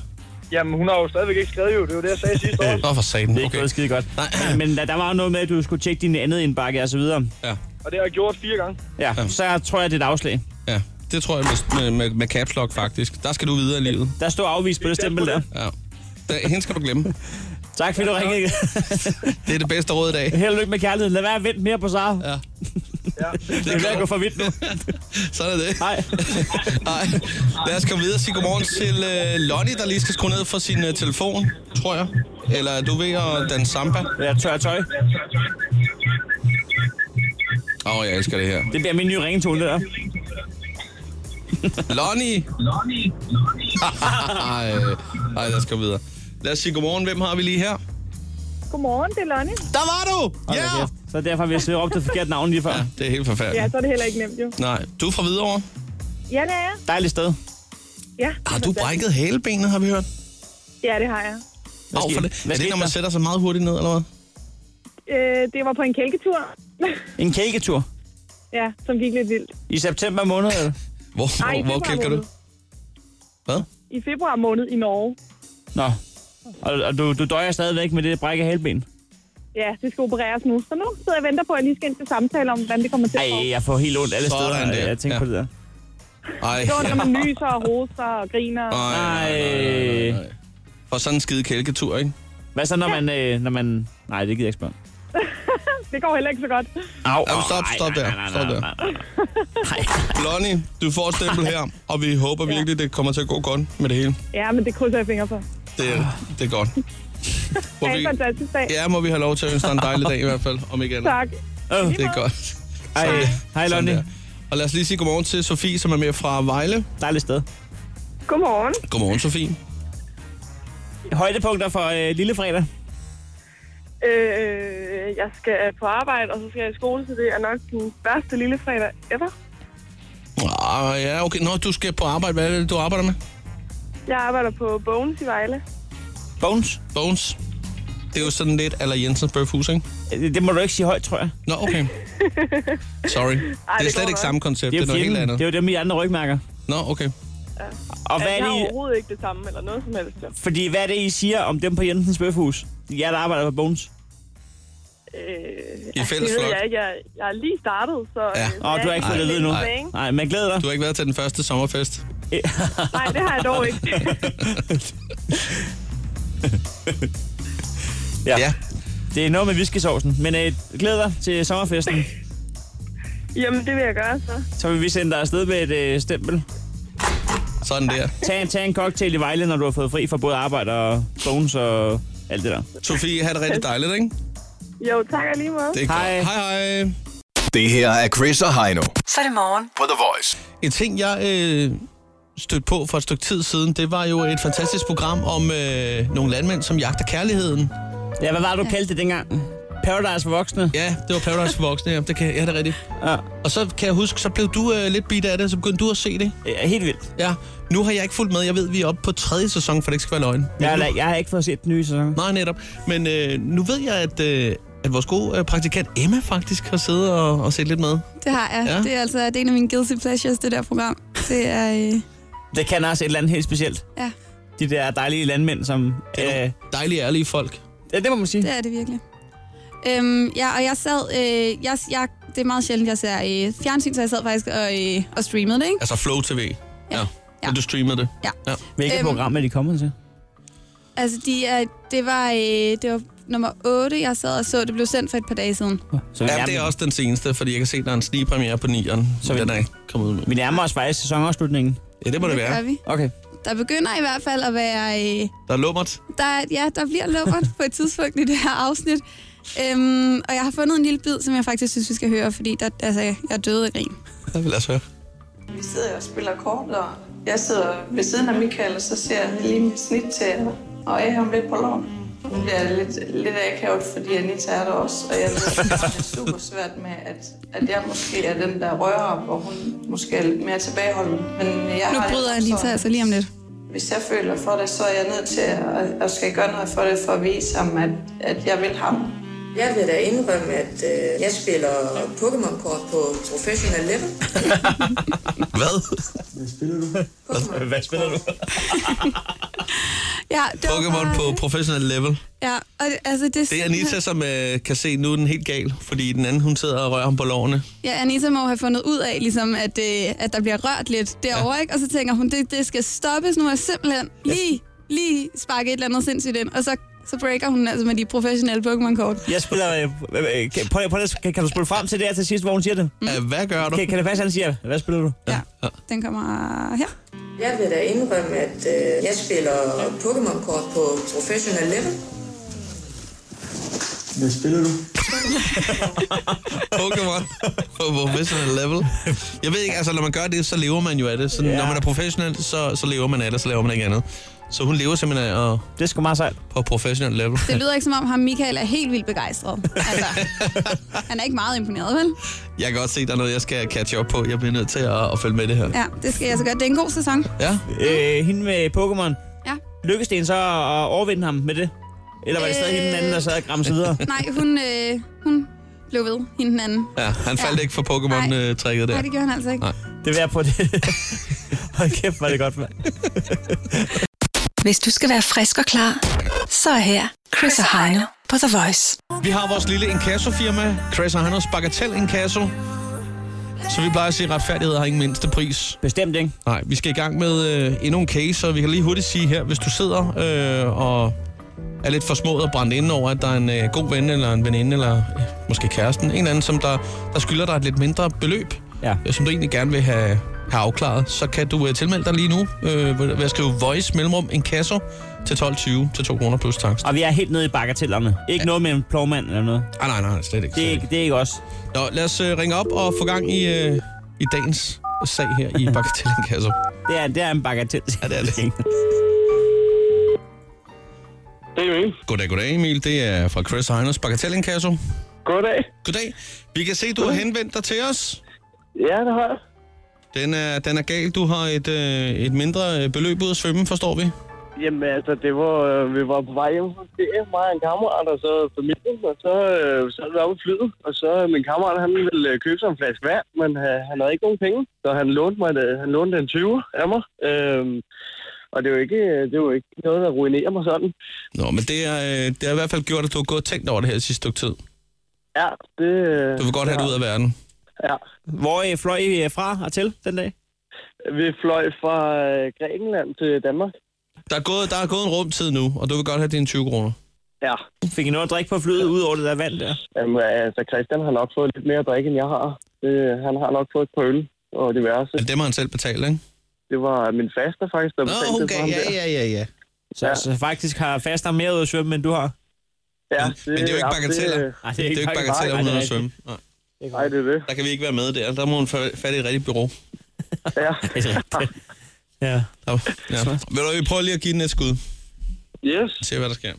Jamen, hun har jo stadigvæk ikke skrevet jo. Det var det, jeg sagde sidste
Øh,
år.
nå, for satan.
Det er ikke
Okay.
gået skide godt.
Nej.
Men der, der var jo noget med, at du skulle tjekke din andet indbakke og så videre.
Ja.
Og det har jeg gjort fire gange.
Ja,
Ja.
så tror jeg, det er et afslag.
ja, det tror jeg med, med, med, med caps lock, faktisk. Der skal du videre i livet.
Der står afvist på det stempel der.
Ja. Der, hende skal du glemme.
Tak fordi du ringede.
Det er det bedste råd i dag.
Held og lykke med kærligheden. Lad være at vente mere på Sara.
Ja.
Ja.
Det er ved at gå for vidt nu.
Sådan er det.
Nej.
Nej. Lad os komme videre og sige godmorgen til øh, Lonnie, der lige skal skrue ned for sin øh, telefon, tror jeg. Eller er du ved at danse samba? Åh,
Jeg tør tøj.
oh, jeg elsker det her.
Det bliver min nye ringetone, det der.
Lonnie! Ej, ej, lad os komme videre. Lad os sige godmorgen. Hvem har vi lige her?
Godmorgen, det er Lonnie.
Der var du! Ja!
Hold da kæft. Så derfor vil jeg sidde op til forkert navn lige før.
Ja, det er helt
Ja,
forfærdeligt.
så er det heller ikke nemt jo.
Nej, du er fra Hvidovre.
Ja, det er jeg.
Dejligt sted.
Ja,
Har du brækket halebenet, har vi hørt?
ja, det har jeg.
Åh, oh, for
skete-
det.
hvad
Er
skete
det, når
der?
man sætter sig meget hurtigt ned, eller hvad?
Øh, det var på en kælketur.
En kælketur.
ja, som gik lidt vildt.
I september måned. eller?
Hvor,
Ej,
hvor,
i
hvor
februar
kælker du?
måned.
Hvad?
I februar måned i Norge.
Nå. Og, og du, du døjer stadigvæk med det brække halben.
Ja, det skal opereres nu. Så nu sidder jeg og venter på, at jeg lige skal ind til samtale om, hvordan det kommer til at gå.
Ej, jeg får helt ondt alle
Sådan
steder,
der.
jeg tænker
Ja.
på det der.
Ej.
Det var, når man nyser og hoster og griner.
Ej. For sådan en skide kælketur, ikke?
Hvad så, når man... Øh, når man... Nej, det gider jeg ikke spørge. om.
Det går heller ikke så godt.
Au,
Jamen,
au,
stop,
ej,
stop
nej,
der,
nej, nej,
stop
nej,
der.
nej, nej.
Lonnie, du får et stempel her, og vi håber virkelig, det kommer til at gå godt med det hele.
Ja, men det krydser jeg fingre for.
Det, er- det er godt. Må
Ha' en
vi,
fantastisk dag.
ja, må vi have lov til at ønske dig en dejlig dag i hvert fald, om ikke andet.
Tak.
Øh,
Det er godt.
Hej,
Sådan-
hej
sådan
Lonnie.
der. Og lad os lige sige godmorgen til Sofie, som er med fra Vejle.
Dejligt sted.
Godmorgen.
Godmorgen, Sofie.
Højdepunkter for øh, lillefredag.
Øh, jeg skal på arbejde, og så skal jeg i skole, så det er nok den første lille fredag ever.
Ah, ja, okay. Nå, du skal på arbejde. Hvad er det, du arbejder med?
Jeg arbejder på Bones i Vejle.
Bones.
Bones. Det er jo sådan lidt aller Jensens Bøfhus, ikke?
Øh, Det må du ikke sige højt, tror jeg.
Nå, okay. Sorry. det er
det
slet
går
ikke
nok.
samme koncept. Det er,
jo
noget helt
fjenden.
andet.
Det er jo dem i andre rygmærker.
Nå, okay.
Og hvad er,
Altså, Jeg har
det, I,
overhovedet ikke det samme, eller noget som helst. Øh, jo.
fordi hvad er det, I siger om dem på Jensens Bøfhus? Jeg der arbejder på Bones.
Øh,
I
altså,
fælles
det ved
flok?
jeg, ikke. jeg, jeg er lige startet, så... øh,
Ja. Åh,
jeg
du har
er
ikke fået det at vide
helt
nu.
tilbage.
Nej, men glæder dig.
Du har ikke været til den første sommerfest?
Nej, det har jeg dog ikke.
Ja. ja. Det er noget med viskesovsen, men øh, glæder dig til sommerfesten.
Jamen, det vil jeg gøre, så.
Så vil vi sende dig afsted med et øh, stempel.
Sådan der.
Tag en, tag en cocktail i Vejle, når du har fået fri fra både arbejde og bonus og alt det der.
Sofie, har det rigtig dejligt, ikke?
Jo, tak og lige meget.
Det er hej. hej, hej.
Det her er Chris og Heino
Så er det morgen.
på The Voice.
En ting, jeg øh, stødte på for et stykke tid siden, det var jo et fantastisk program om øh, nogle landmænd, som jagter kærligheden.
Ja, hvad var det, du kaldte det dengang? Paradise for voksne?
Ja, det var Paradise for voksne, ja. Det kan, ja, det er rigtigt.
Ja.
Og så kan jeg huske, så blev du øh, lidt bit af det, så begyndte du at se det.
ja helt vildt.
Ja, nu har jeg ikke fulgt med. Jeg ved, vi er oppe på tredje sæson, for det ikke skal være løgn. Men
Jeg,
nu-
har- jeg har ikke fået set den nye sæson.
Nej, netop. Men øh, nu ved jeg, at, øh, at vores gode øh, praktikant Emma faktisk har siddet og, og set lidt med.
Det har jeg.
Ja.
Ja. Det er altså det er en af mine guilty pleasures, det der program. Det er... Øh,
Det kan også et eller andet helt specielt.
ja,
De der dejlige landmænd, som... Øh,
Det er nogle dejlige, ærlige folk.
ja, det må man sige.
det er det virkelig. Øhm, ja, og jeg sad... Øh, jeg, jeg, det er meget sjældent, jeg ser øh, fjernsyn, så jeg sad faktisk og, øh, og streamede det, ikke?
Altså Flow TV. Ja. ja.
Ja.
Og du streamede det.
Ja.
ja.
Hvilket
Øhm.
program er de kommet til?
Altså, de er, det, var, øh, det var nummer 8, jeg sad og så. Det blev sendt for et par dage siden.
Så vi,
Jamen, det er
nærmer,
også den seneste, fordi jeg kan se, at der er en snigpremiere på nieren.
Så
Så
vi-
den er ikke kommet ud nu.
vi nærmer os faktisk sæsonafslutningen.
Ja, det må det
Det gør
være.
vi.
Okay.
Der begynder i hvert fald at være... Øh,
Der er lummert.
der, ja, der bliver lummert på et tidspunkt i det her afsnit. Øhm, og jeg har fundet en lille bid, som jeg faktisk synes, vi skal høre, fordi der, altså, jeg døde af grin.
Lad os høre.
Vi sidder og spiller kort, og jeg sidder ved siden af Michael, og så ser jeg lige mit snit til og af ham lidt på loven. Nu bliver jeg lidt, lidt akavet, fordi Anita er der også, og jeg ved, at det er super svært med, at, at jeg måske er den, der rører op, og hun måske er lidt mere tilbageholdende. Men jeg
Nu
har
bryder
det
Anita
sådan,
altså lige om lidt.
Hvis jeg føler for det, så er jeg nødt til at, at skal gøre noget for det, for at vise ham, at, at jeg vil ham.
Jeg vil da indrømme, at øh, jeg spiller Pokémon-kort på professional level.
Hvad?
Hvad spiller du?
Ja, det var
Pokémon
bare-
på professionel level.
Ja, og det, altså, det,
Det er Anita, som øh, kan se, nu er den helt gal, fordi den anden, hun sidder og rører ham på lårene.
Ja, Anita må jo have fundet ud af, ligesom, at, øh, at der bliver rørt lidt derovre, ja. ikke? Og så tænker hun, det, det skal stoppes nu, og simpelthen lige, lige sparke et eller andet sindssygt ind. Og så, så breaker hun altså med de professionelle Pokémon-kort.
Jeg spiller... Øh, øh, øh, kan- prøv, lige- prøv, lige- kan, kan du spille frem til det her til sidst, hvor hun siger det?
Mm. Hvad gør du?
Kan, kan det faktisk, han siger, hvad spiller du?
Ja, den kommer her.
Jeg vil da indrømme, at øh, jeg spiller Pokémon-kort på professional level.
Hvad spiller du?
Pokémon på professional level. Jeg ved ikke, altså når man gør det, så lever man jo af det. Så
Ja.
når man er professionel, så, så lever man af det, så laver man ikke andet. Så hun lever simpelthen af, at-
Det er sgu meget sejt.
på professionel level.
Det lyder ikke, som om ham Michael er helt vildt begejstret. Altså, han er ikke meget imponeret, vel?
Jeg kan godt se, der er noget, jeg skal catch op på. Jeg bliver nødt til at, at følge med det her.
Ja, det skal jeg så gøre. Det er en god sæson.
Ja.
Øh, hende med Pokémon.
Ja.
Lykkedes det hende så at overvinde ham med det? Eller var det stadig
Øh.
hende den anden, der sad og græmsede videre?
Nej, hun, øh, hun blev ved, hende den anden.
Ja, han faldt
Ja.
ikke for Pokémon-trækket der.
Nej, det gjorde han altså ikke.
Nej.
Det vil jeg på det. Hold kæft, var det godt, mand.
Hvis du skal være frisk og klar, så er her Chris og Heino på The Voice.
Vi har vores lille inkassofirma, Chris og Hannes Bagatell Inkasso. Så vi plejer at sige, at retfærdighed har ingen mindste pris.
Bestemt, ikke?
Nej, vi skal i gang med øh, endnu en case, og vi kan lige hurtigt sige her, hvis du sidder øh, og er lidt for smået og brændt ind over, at der er en øh, god ven eller en veninde, eller øh, måske kæresten, en eller anden, som der, der skylder dig et lidt mindre beløb,
Ja.
øh, som du egentlig gerne vil have, have afklaret, så kan du øh, tilmelde dig lige nu øh, ved ved at skrive voice mellemrum en kasse til 12.20 til 2 kroner plus takst.
Og vi er helt nede i bagatellerne. Ikke ja. noget med en plovmand eller noget.
Ah, nej, nej, slet ikke.
Det er ikke, det er ikke os.
Nå, lad os øh, ringe op og få gang i, øh, i dagens sag her i Bagatellen Kasse.
Det er, det er en bagatell.
Ja, det er det.
Det er Emil.
Goddag, goddag Emil. Det er fra Chris Heiners Bagatellen Kasse.
Goddag.
Goddag. Vi kan se, du har henvendt dig til os.
Ja, det har jeg.
Den er, den er gal. Du har et, øh, et mindre øh, beløb ud at svømme, forstår vi.
Jamen altså, det var, øh, vi var på vej hjem fra ferie, mig og en kammerat, og så familien, og så, øh, så er vi oppe i flyet, og så øh, min kammerat, han ville øh, købe sig en flaske vand, men øh, han havde ikke nogen penge, så han lånte, mig, det- han lånte en 20 af mig, øhm, og det var, ikke, øh, det var ikke noget, der ruinerer mig sådan.
Nå, men det er, øh, det er i hvert fald gjort, at du har gået og tænkt over det her sidste stykke tid.
Ja, det... øh,
Du vil godt have det ud af verden.
Ja.
Hvor øh, fløj I øh, fra og til den dag?
Vi fløj fra øh, Grækenland til Danmark.
Der er, gået, der er gået en rumtid nu, og du vil godt have dine 20 kroner.
Ja.
Fik I noget at drikke på flyet, ud over det der vand der?
Jamen, altså, Christian har nok fået lidt mere at drikke, end jeg har. Det, øh, han har nok fået et par øl og diverse.
Men dem har han selv betalt, ikke?
Det var min faster, faktisk, der
Nå,
betalte det
okay,
for ham
ja,
der.
ja, ja, ja.
Så, ja. så faktisk har faster mere ud at svømme, end du har?
Ja,
Men det er jo ikke bagateller.
Ej,
Det er jo ikke bagateller, hun har svømme. Nej.
Nej, det er det.
Der kan vi ikke være med der. Der må hun fa- fat i et rigtigt bureau.
Ja.
Altså, ja.
Der, ja. Vil du, vi prøver lige at give den et skud?
Yes.
Se, hvad der sker.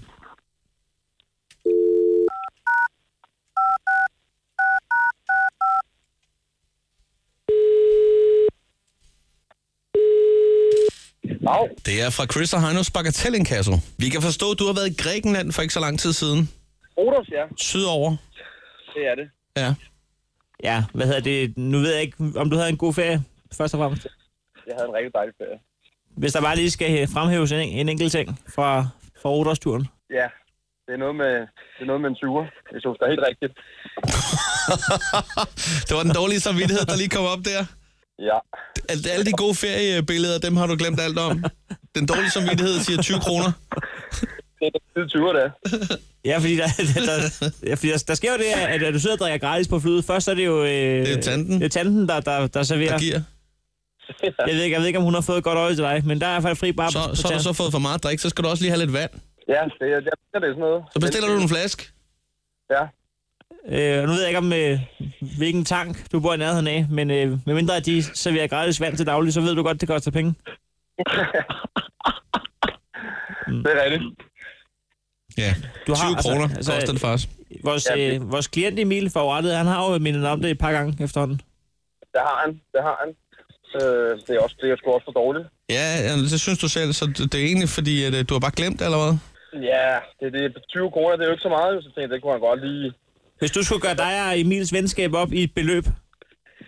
Det er fra Chris og Heinos Bagatellinkasso. Vi kan forstå, at du har været i Grækenland for ikke så lang tid siden.
Rodos, ja.
Sydover.
Det er det.
Ja.
Ja, hvad hedder det? Nu ved jeg ikke, om du havde en god ferie, først og fremmest.
Jeg havde en rigtig dejlig ferie.
Hvis der bare lige skal øh, fremhæves en, en enkelt ting fra, fra Rodersturen.
Ja, det er noget med, det er noget med en syver. Jeg synes, det er helt rigtigt.
det var den dårlige samvittighed, der lige kom op der.
Ja.
Al- Alle de gode feriebilleder, dem har du glemt alt om. Den dårlige samvittighed siger 20 kroner.
Det er 20 der.
Ja, fordi der, der, ja, fordi der, der sker jo det, at, at du sidder og drikker gratis på flyet. Først er det jo... Øh, det
er tanten.
Det er tanten, der, der, der serverer.
Der giver.
Jeg ved, ikke, jeg ved ikke, om hun har fået et godt øje til dig, men der er i hvert fald fri bare
Så,
på,
så har du så fået for meget drik, så skal du også lige have lidt vand.
Ja, det, jeg, jeg, det er sådan noget.
Så bestiller du en flaske.
Ja.
Øh, og nu ved jeg ikke, om øh, hvilken tank du bor i nærheden af, men øh, medmindre at de serverer gratis vand til daglig, så ved du godt, det koster penge.
Det er rigtigt.
Ja,
Du har,
20
altså-
kroner
altså-
koster det faktisk.
Vores,
Ja, det-
øh, vores klient Emil forurettet, han har jo mindet om det et par gange efterhånden.
Det har han. Det har han. Øh, det er også det, jeg sgu også for dårligt.
Ja, ja, det synes du selv, så det det er egentlig fordi, at øh, du har bare glemt, eller hvad?
Ja, det, det er 20 kroner, det er jo ikke så meget, jo, så tænkte jeg, det kunne han godt lige...
Hvis du skulle gøre dig og Emils venskab op i et beløb,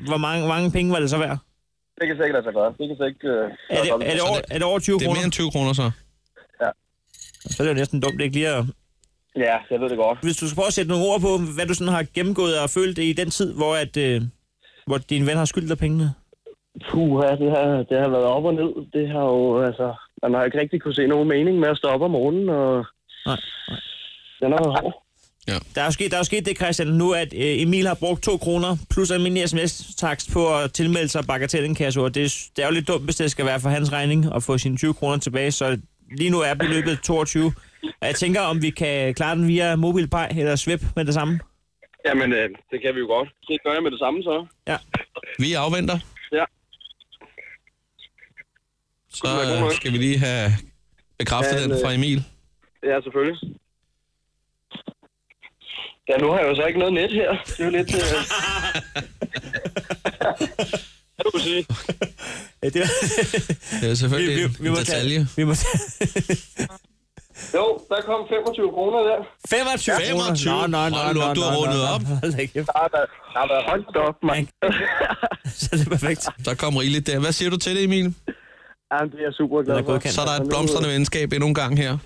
hvor mange, hvor mange penge var det så værd?
Det kan sikkert lade sig gøre. Det kan sikkert... Øh,
Er det, er det, over, er det over 20
Det er mere
kroner?
end 20 kroner så.
Så er det jo næsten dumt, ikke lige at...
Ja, jeg ved det godt.
Hvis du skal prøve at sætte nogle ord på, hvad du sådan har gennemgået og følt i den tid, hvor, at, øh, hvor din ven har skyldt dig pengene.
Puha, det har, det har været op og ned. Det har jo, altså... Man har ikke rigtig kunne se nogen mening med at stå op om morgenen, og...
Nej,
Den har været hård.
Der er jo sket, der er jo sket det, Christian, nu at øh, Emil har brugt 2 kroner plus almindelig sms-takst på at tilmelde sig bagatellinkasso, og det, er- det er jo lidt dumt, hvis det skal være for hans regning at få sine 20 kroner tilbage, så lige nu er beløbet 22. Og jeg tænker, om vi kan klare den via MobilePay eller Svip med det samme.
Jamen, øh, det kan vi jo godt. Det gør jeg med det samme, så.
Ja.
Vi afventer.
Ja.
Så
være god nok.
øh, skal vi lige have bekræftet
Ja,
den
øh,
fra Emil.
Ja, selvfølgelig. Ja, nu har jeg jo så ikke noget net her. Det er jo lidt... Øh... Hvad du vil sige?
Ja, Øh, det,
Det er selvfølgelig vi, vi, vi en detalje.
tage, vi må tage
Jo, der kom 25 kroner der.
25
25.
kroner. Nå, nå, nå,
Hold nu
nå,
op, du
nå,
har
nå,
rundet
nå.
op.
Hold da kæft.
Der har været, der har været holdt op, mand.
Så er det perfekt.
Der kom rigeligt der. Hvad siger du til det, Emil?
Jamen, det er jeg super
Den
glad
er
for.
godkendt.
Så er der et blomstrende venskab endnu en gang her.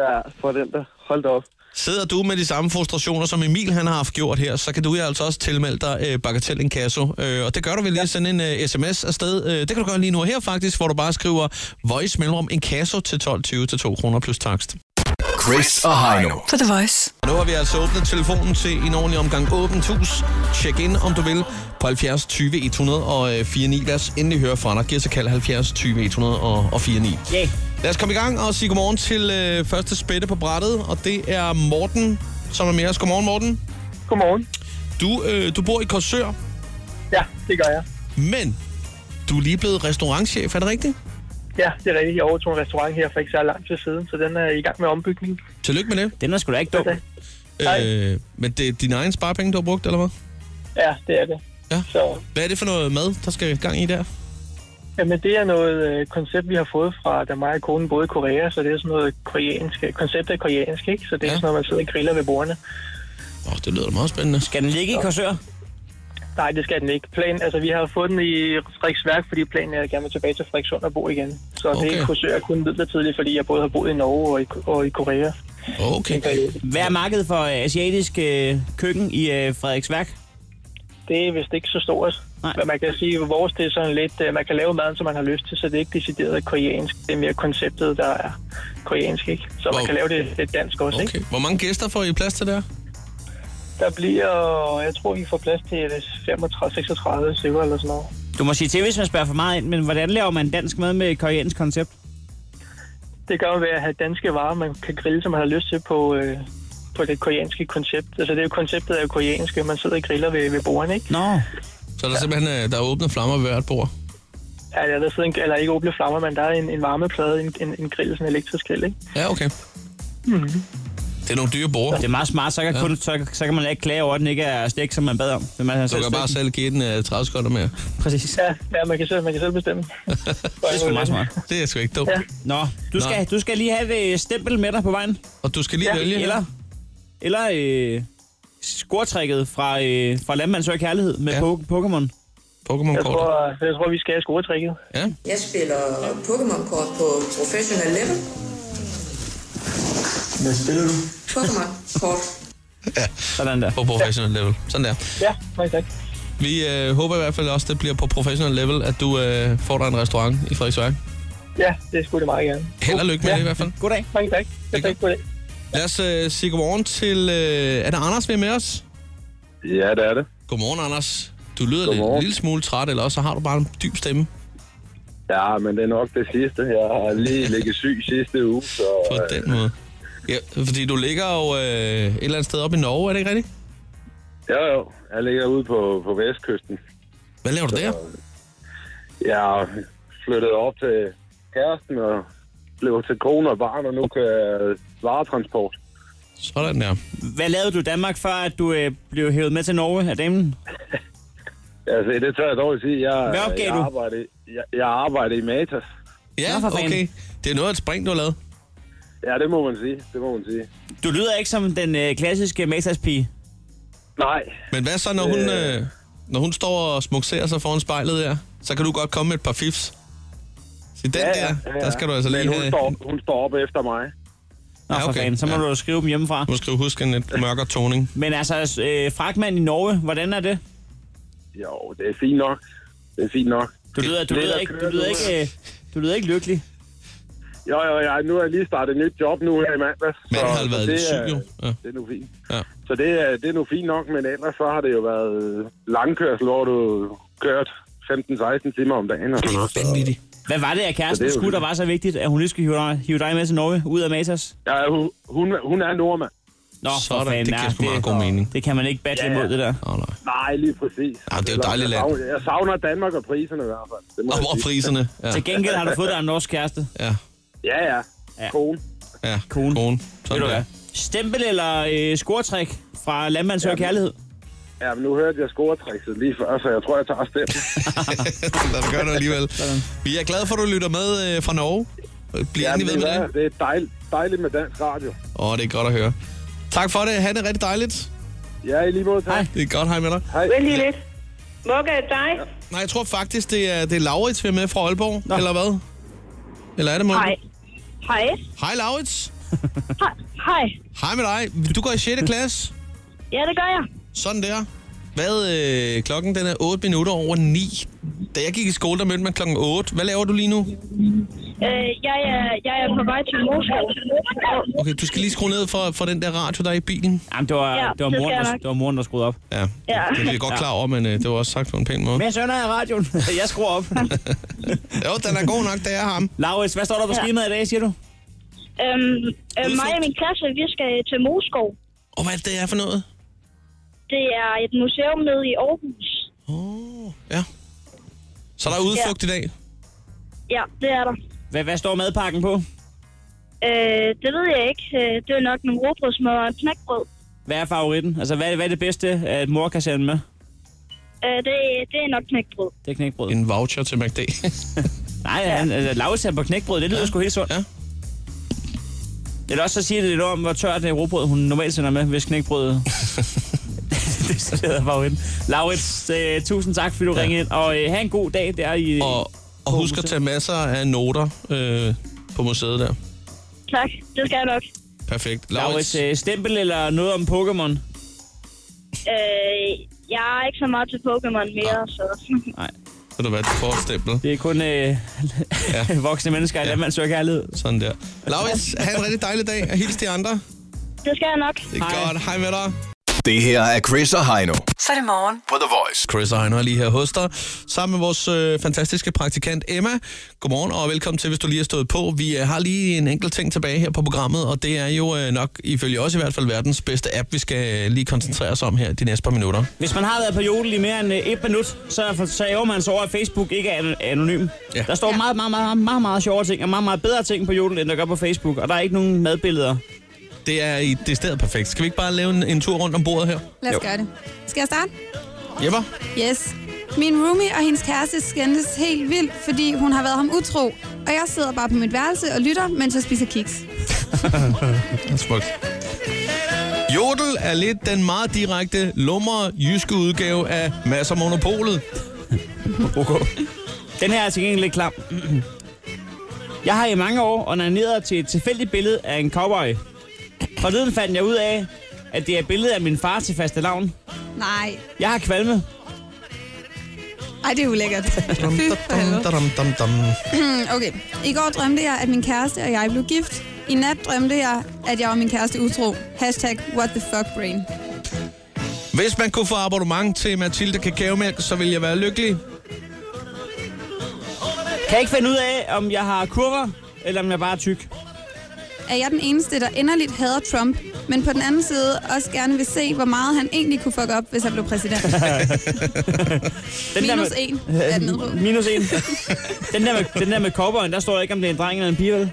Ja, for den der. Hold da op.
Sidder du med de samme frustrationer, som Emil han har haft gjort her, så kan du jo altså også tilmelde dig øh, Bagatell Inkasso. Øh, og det gør du ved lige at sende en øh, sms afsted. Øh, det kan du gøre lige nu og her faktisk, hvor du bare skriver voice mellemrum Inkasso til 12.20 til 2 kroner plus takst.
Chris og Heino.
På The Voice.
Og nu har vi altså åbnet telefonen til en ordentlig omgang åbent hus. Check in, om du vil, på 70 20 104 9. øh, Lad os endelig høre fra dig. Giv os et kald 70 20 104 9.
Yeah.
Lad os komme i gang og sige godmorgen til øh, første spætte på brættet, og det er Morten, som er med os. Godmorgen, Morten.
Godmorgen.
Du, øh, du bor i Korsør,
Ja, det gør jeg.
men du er lige blevet restaurantchef, er det rigtigt?
Ja, det er rigtigt. Jeg overtog en restaurant her for ikke så lang tid siden, så den er i gang med ombygning.
Tillykke med det.
Den er sgu da ikke dum.
Hej.
Øh, men det er dine egne sparepenge, du har brugt, eller hvad?
Ja, det er det.
Ja.
Så
Hvad er det for noget mad, der skal i gang i der?
Jamen, det er noget øh, koncept, vi har fået fra, da mig og konen boede i Korea, så det er sådan noget koreansk. Konceptet er koreansk, ikke? Så det er
Ja.
sådan noget, man sidder og griller ved bordene.
Åh, oh, det lyder da meget spændende.
Skal den ligge i korsør?
Nej, det skal den ikke. Planen, altså, vi har fået den i Frederiksværk, fordi planen er, at jeg gerne vil tilbage til Frederikssund og bo igen. Så okay. det kursør er kun midlertidigt, fordi jeg både har boet i Norge og i, og i Korea.
Okay.
Hvad er markedet for øh, asiatisk øh, køkken i øh, Frederiksværk?
Det er vist ikke så stort. Nej. Men man kan sige, at vores det er sådan lidt, øh, man kan lave maden, som man har lyst til, så det er ikke decideret koreansk. Det er mere konceptet, der er koreansk, ikke? Så man
Hvor-
kan lave det, det dansk også, ikke?
Okay. Hvor mange gæster får I plads til der?
Der bliver, jeg tror, vi får plads til 35-36 stykker eller sådan noget.
Du må sige til, hvis man spørger for meget ind, men hvordan laver man dansk mad med et koreansk koncept?
Det gør man ved at have danske varer, man kan grille, som man har lyst til på, øh, på det koreanske koncept. Altså det er jo konceptet er jo koreanske, man sidder og griller ved, ved bordene, ikke?
Nå.
Så er der simpelthen øh, der er åbne flammer ved hvert bord.
Ja, der sidder en, eller ikke åbne flammer, men der er en, en varmeplade, en, en, en grill, sådan en elektrisk grill, ikke?
Ja, okay.
Mm-hmm.
Det er nogle dyre borde.
Det er meget smart, så kan, ja. kun, så, så kan man ikke klage over, at den ikke er stegt, som man bad om. Det er man
Du kan bare selv give den øh, 30 sekunder mere.
Præcis.
Ja, ja man, kan selv, man kan selv bestemme.
Det er sgu meget smart. Det er sgu ikke dumt.
Ja.
Nå, du skal, du skal lige have et øh, stempel med dig på vejen.
Og du skal lige
ja.
vælge.
Eller, eller øh, scoretrækket fra, øh, fra Landmand Søger Kærlighed med ja. Pokémon.
Jeg tror, jeg tror, vi skal have scoretrikket.
Ja.
Jeg spiller Pokémon-kort på professional level.
Hvad spiller du?
Pokémon-kort.
Ja.
Sådan der.
På professional level. Sådan der.
Ja, mange tak.
Vi øh, håber i hvert fald også, det bliver på professional level, at du øh, får dig en restaurant i Frederiksværk.
Ja, det skulle det meget gerne.
Held og lykke med det i hvert fald.
Goddag.
Mange tak. Jeg tak. Goddag.
Lad os øh, sige godmorgen til... Øh, er det Anders, vi er med os?
Ja, det er det.
Godmorgen, Anders. Du lyder lidt, en lille smule træt, eller også så har du bare en dyb stemme.
Ja, men det er nok det sidste. Jeg har lige ligget syg sidste uge, så...
På den måde. Ja, fordi du ligger jo øh, et eller andet sted oppe i Norge, er det ikke rigtigt?
Jo, jo. Jeg ligger ude på, på vestkysten.
Hvad laver du der?
Jeg flyttede op til kæresten og blev til kone og barn, og nu kan jeg varetransport.
Sådan der.
Hvad lavede du i Danmark, før at du øh, blev hævet med til Norge af damen?
Altså, det tør jeg dog sige. Jeg,
Hvad opgav
jeg
du?
Arbejder, jeg, jeg arbejder i Matas.
Ja,
Nå, for fanden.
okay. Det er noget af et spring, du har lavet.
Ja, det må man sige. Det må man sige.
Du lyder ikke som den øh, klassiske Matas-pige.
Nej.
Men hvad så, når hun, øh, når hun står og smukserer sig foran spejlet der? Så kan du godt komme med et par fifs. Så den ja, der, der skal du altså lige
men hun
have...
står, hun står op efter mig.
Nå, ja, okay. for fanden, så må ja. du jo skrive dem hjemmefra.
Du skal jo huske en lidt mørkere toning.
Men altså, øh, fragtmand i Norge, hvordan er det?
Jo, det er fint nok. Det er fint nok.
Du lyder, du
Lidt
lyder
at
ikke, du
køre
lyder
nu,
ikke, øh, du lyder ikke lykkelig.
Jo, jo, jo. Nu har jeg lige startet et nyt job nu her i mandags.
Men
så-
har
så
været
det
lidt syg,
er-
jo. Ja.
Det er nu fint.
Ja.
Så det er, det er nu fint nok, men ellers så har det jo været øh, langkørsel, hvor du kørt 15-16 timer om dagen. Og sådan noget. Så-
Hvad var det af
Så det
kæresten
er jo
skulle, der var så vigtigt, at hun lige skulle hive dig, hive dig med til Norge, ud af Matas?
Ja, hun, hun, hun er nordmand.
Nå, for
Sådan,
fanden,
det giver
nej,
sgu meget god mening.
Det kan man ikke battle
Ja, ja.
imod, det der.
Oh, nej.
Nej, lige præcis.
Ja, det er jo et
jeg
dejligt land.
savner, jeg savner Danmark og priserne i hvert fald. Det må
Og
jeg
hvor er
sige.
priserne?
Ja. Til gengæld har du fået dig en norsk kæreste.
Ja,
Ja, ja.
Ja.
Kone.
ja. Kone. Kone.
Ved
Sådan
du
der.
hvad? Stempel eller øh, scoretræk fra Landmand Søger Kærlighed?
Ja, men nu hørte jeg scoretrikset lige før, så jeg tror, jeg tager stemmen.
Lad os gøre det alligevel. Vi er glade for, at du lytter med øh, fra Norge. Bliv
ja,
endelig ved
men
med
hvad?
det.
det er dejligt, dejligt med dansk radio.
Åh, det er godt at høre. Tak for det. Han er rigtig dejligt.
Ja, i lige måde. Tak.
Det er godt. Hej med dig.
Hej.
Vent lige lidt. Mugga er dig?
Nej, jeg tror faktisk, det er, det er Laurits, vi er med fra Aalborg, Nå. eller hvad? Eller er det Morten?
Hej. Hej.
Hej, Laurits.
Hej.
Hej med dig. Du går i 6. klasse.
Ja, det gør jeg.
Sådan der. Hvad, øh, klokken den er 8 minutter over 9. Da jeg gik i skole, der mødte man klokken 8. Hvad laver du lige nu?
Øh, jeg, er, jeg er på vej til Moskva. Øhm, øh,
Okay, du skal lige skrue ned for, for den der radio, der er i bilen.
Jamen, det var,
Ja,
det var,
det
moren,
skal jeg
der,
nok.
det var moren, der skruede op.
Ja,
Ja.
det er vi godt klar over, men øh, det var også sagt på en pæn måde.
Men sønner i radioen. jeg skruer op.
Jo, den er god nok, det er ham.
Laurits, hvad står der på
Ja.
skemaet i dag, siger du?
Øhm, øh, mig og min klasse, vi skal til Moskov.
Og hvad er det, det er for noget?
Det er et museum nede i Aarhus.
Ja. Så der er udflugt i dag.
Ja, det er der.
Hvad, hvad står madpakken på?
Øh, det ved jeg ikke. Øh, det er nok nogle råbrødsmad og en knækbrød.
Hvad er favoritten? Altså, hvad, hvad er det bedste, at mor kan sende med?
Øh, det, det er nok knækbrød.
Det er knækbrød.
En voucher til McD.
Nej, han, altså, Laurits er på knækbrød. Det lyder ja. sgu helt sundt.
Ja.
øh, Eller også så siger det lidt om, hvor tørt det råbrød, hun normalt sender med, hvis knækbrødet... decideret favorit. Laurits, øh, tusind tak, fordi du ja. ringede ind. Og øh, have en god dag der i...
Og, og husk at tage masser af noter øh, på museet der.
Tak, det skal jeg nok.
Perfekt.
Laurits,
Laurits,
øh, stempel eller noget om Pokémon?
Øh, jeg er ikke så meget til Pokémon mere, så...
Nej.
ved du hvad, du får et stempel.
Det er kun øh, ja. voksne mennesker, ja. der man søger kærlighed.
Sådan der. Laurits, have en rigtig dejlig dag, og hils de andre.
Det skal jeg nok.
Det er Hej. godt. Hej med dig.
Det her er Chris og Heino.
Så er det morgen.
På The Voice.
Chris og Heino er lige her hos dig, sammen med vores øh, fantastiske praktikant Emma. Godmorgen og velkommen til, hvis du lige har stået på. Vi øh, har lige en enkelt ting tilbage her på programmet, og det er jo øh, nok, ifølge os i hvert fald, verdens bedste app, vi skal øh, lige koncentrere os om her de næste par minutter.
Hvis man har været på jodel i mere end øh, et minut, så for- så ærger man sig over, at Facebook ikke er an- anonym. Ja. Der står meget, meget, meget, meget, meget, meget sjove ting, og meget, meget bedre ting på jodel, end der gør på Facebook. Og der er ikke nogen madbilleder.
Det er i det sted perfekt. Skal vi ikke bare lave en, en tur rundt om bordet her?
Lad os gøre det. Skal jeg starte?
Jepper?
Yes. Min roomie og hendes kæreste skændtes helt vildt, fordi hun har været ham utro. Og jeg sidder bare på mit værelse og lytter, mens jeg spiser kiks.
Smukt. Jodel er lidt den meget direkte, lummer jyske udgave af Masser Monopolet.
okay. Den her er til gengæld lidt klam. Jeg har i mange år onaneret til et tilfældigt billede af en cowboy. Forleden fandt jeg ud af, at det er et billede af min far til faste lavn.
Nej.
Jeg har kvalme.
Ej, det er ulækkert. Fy for helvede. Mm,
Dum, dum, dum.
okay. I går drømte jeg, at min kæreste og jeg blev gift. I nat drømte jeg, at jeg var min kæreste utro. Hashtag what the fuck brain.
Hvis man kunne få abonnement til Mathilde Kakaomælk, så ville jeg være lykkelig.
Kan jeg ikke finde ud af, om jeg har kurver, eller om jeg bare er tyk.
Er jeg den eneste, der inderligt hader Trump, men på den anden side også gerne vil se, hvor meget han egentlig kunne fuck op, hvis han blev præsident? Minus en
øh,
er den nede på.
Øh, Minus en. Den der med, den der med cowboyen, der står ikke, om det er en dreng eller en pige, vel?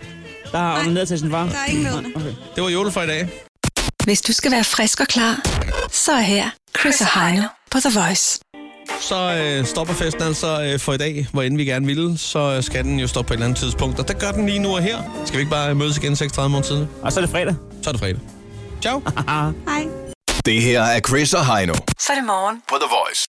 Der har onaneret til sin far.
Der er ingen ved
Det var jodel for i dag.
Hvis du skal være frisk og klar, så er her Chris og Heino på The Voice.
Så øh, stopper festen altså øh, for i dag, hvor end vi gerne ville. Så øh, skal den jo stoppe på et eller andet tidspunkt. Og der gør den lige nu og her. Skal vi ikke bare mødes igen 6.30 måneder tid?
Og så er det fredag.
Så er det fredag. Ciao.
Hej.
Det her er Chris og Heino.
Så er det morgen.
På The Voice.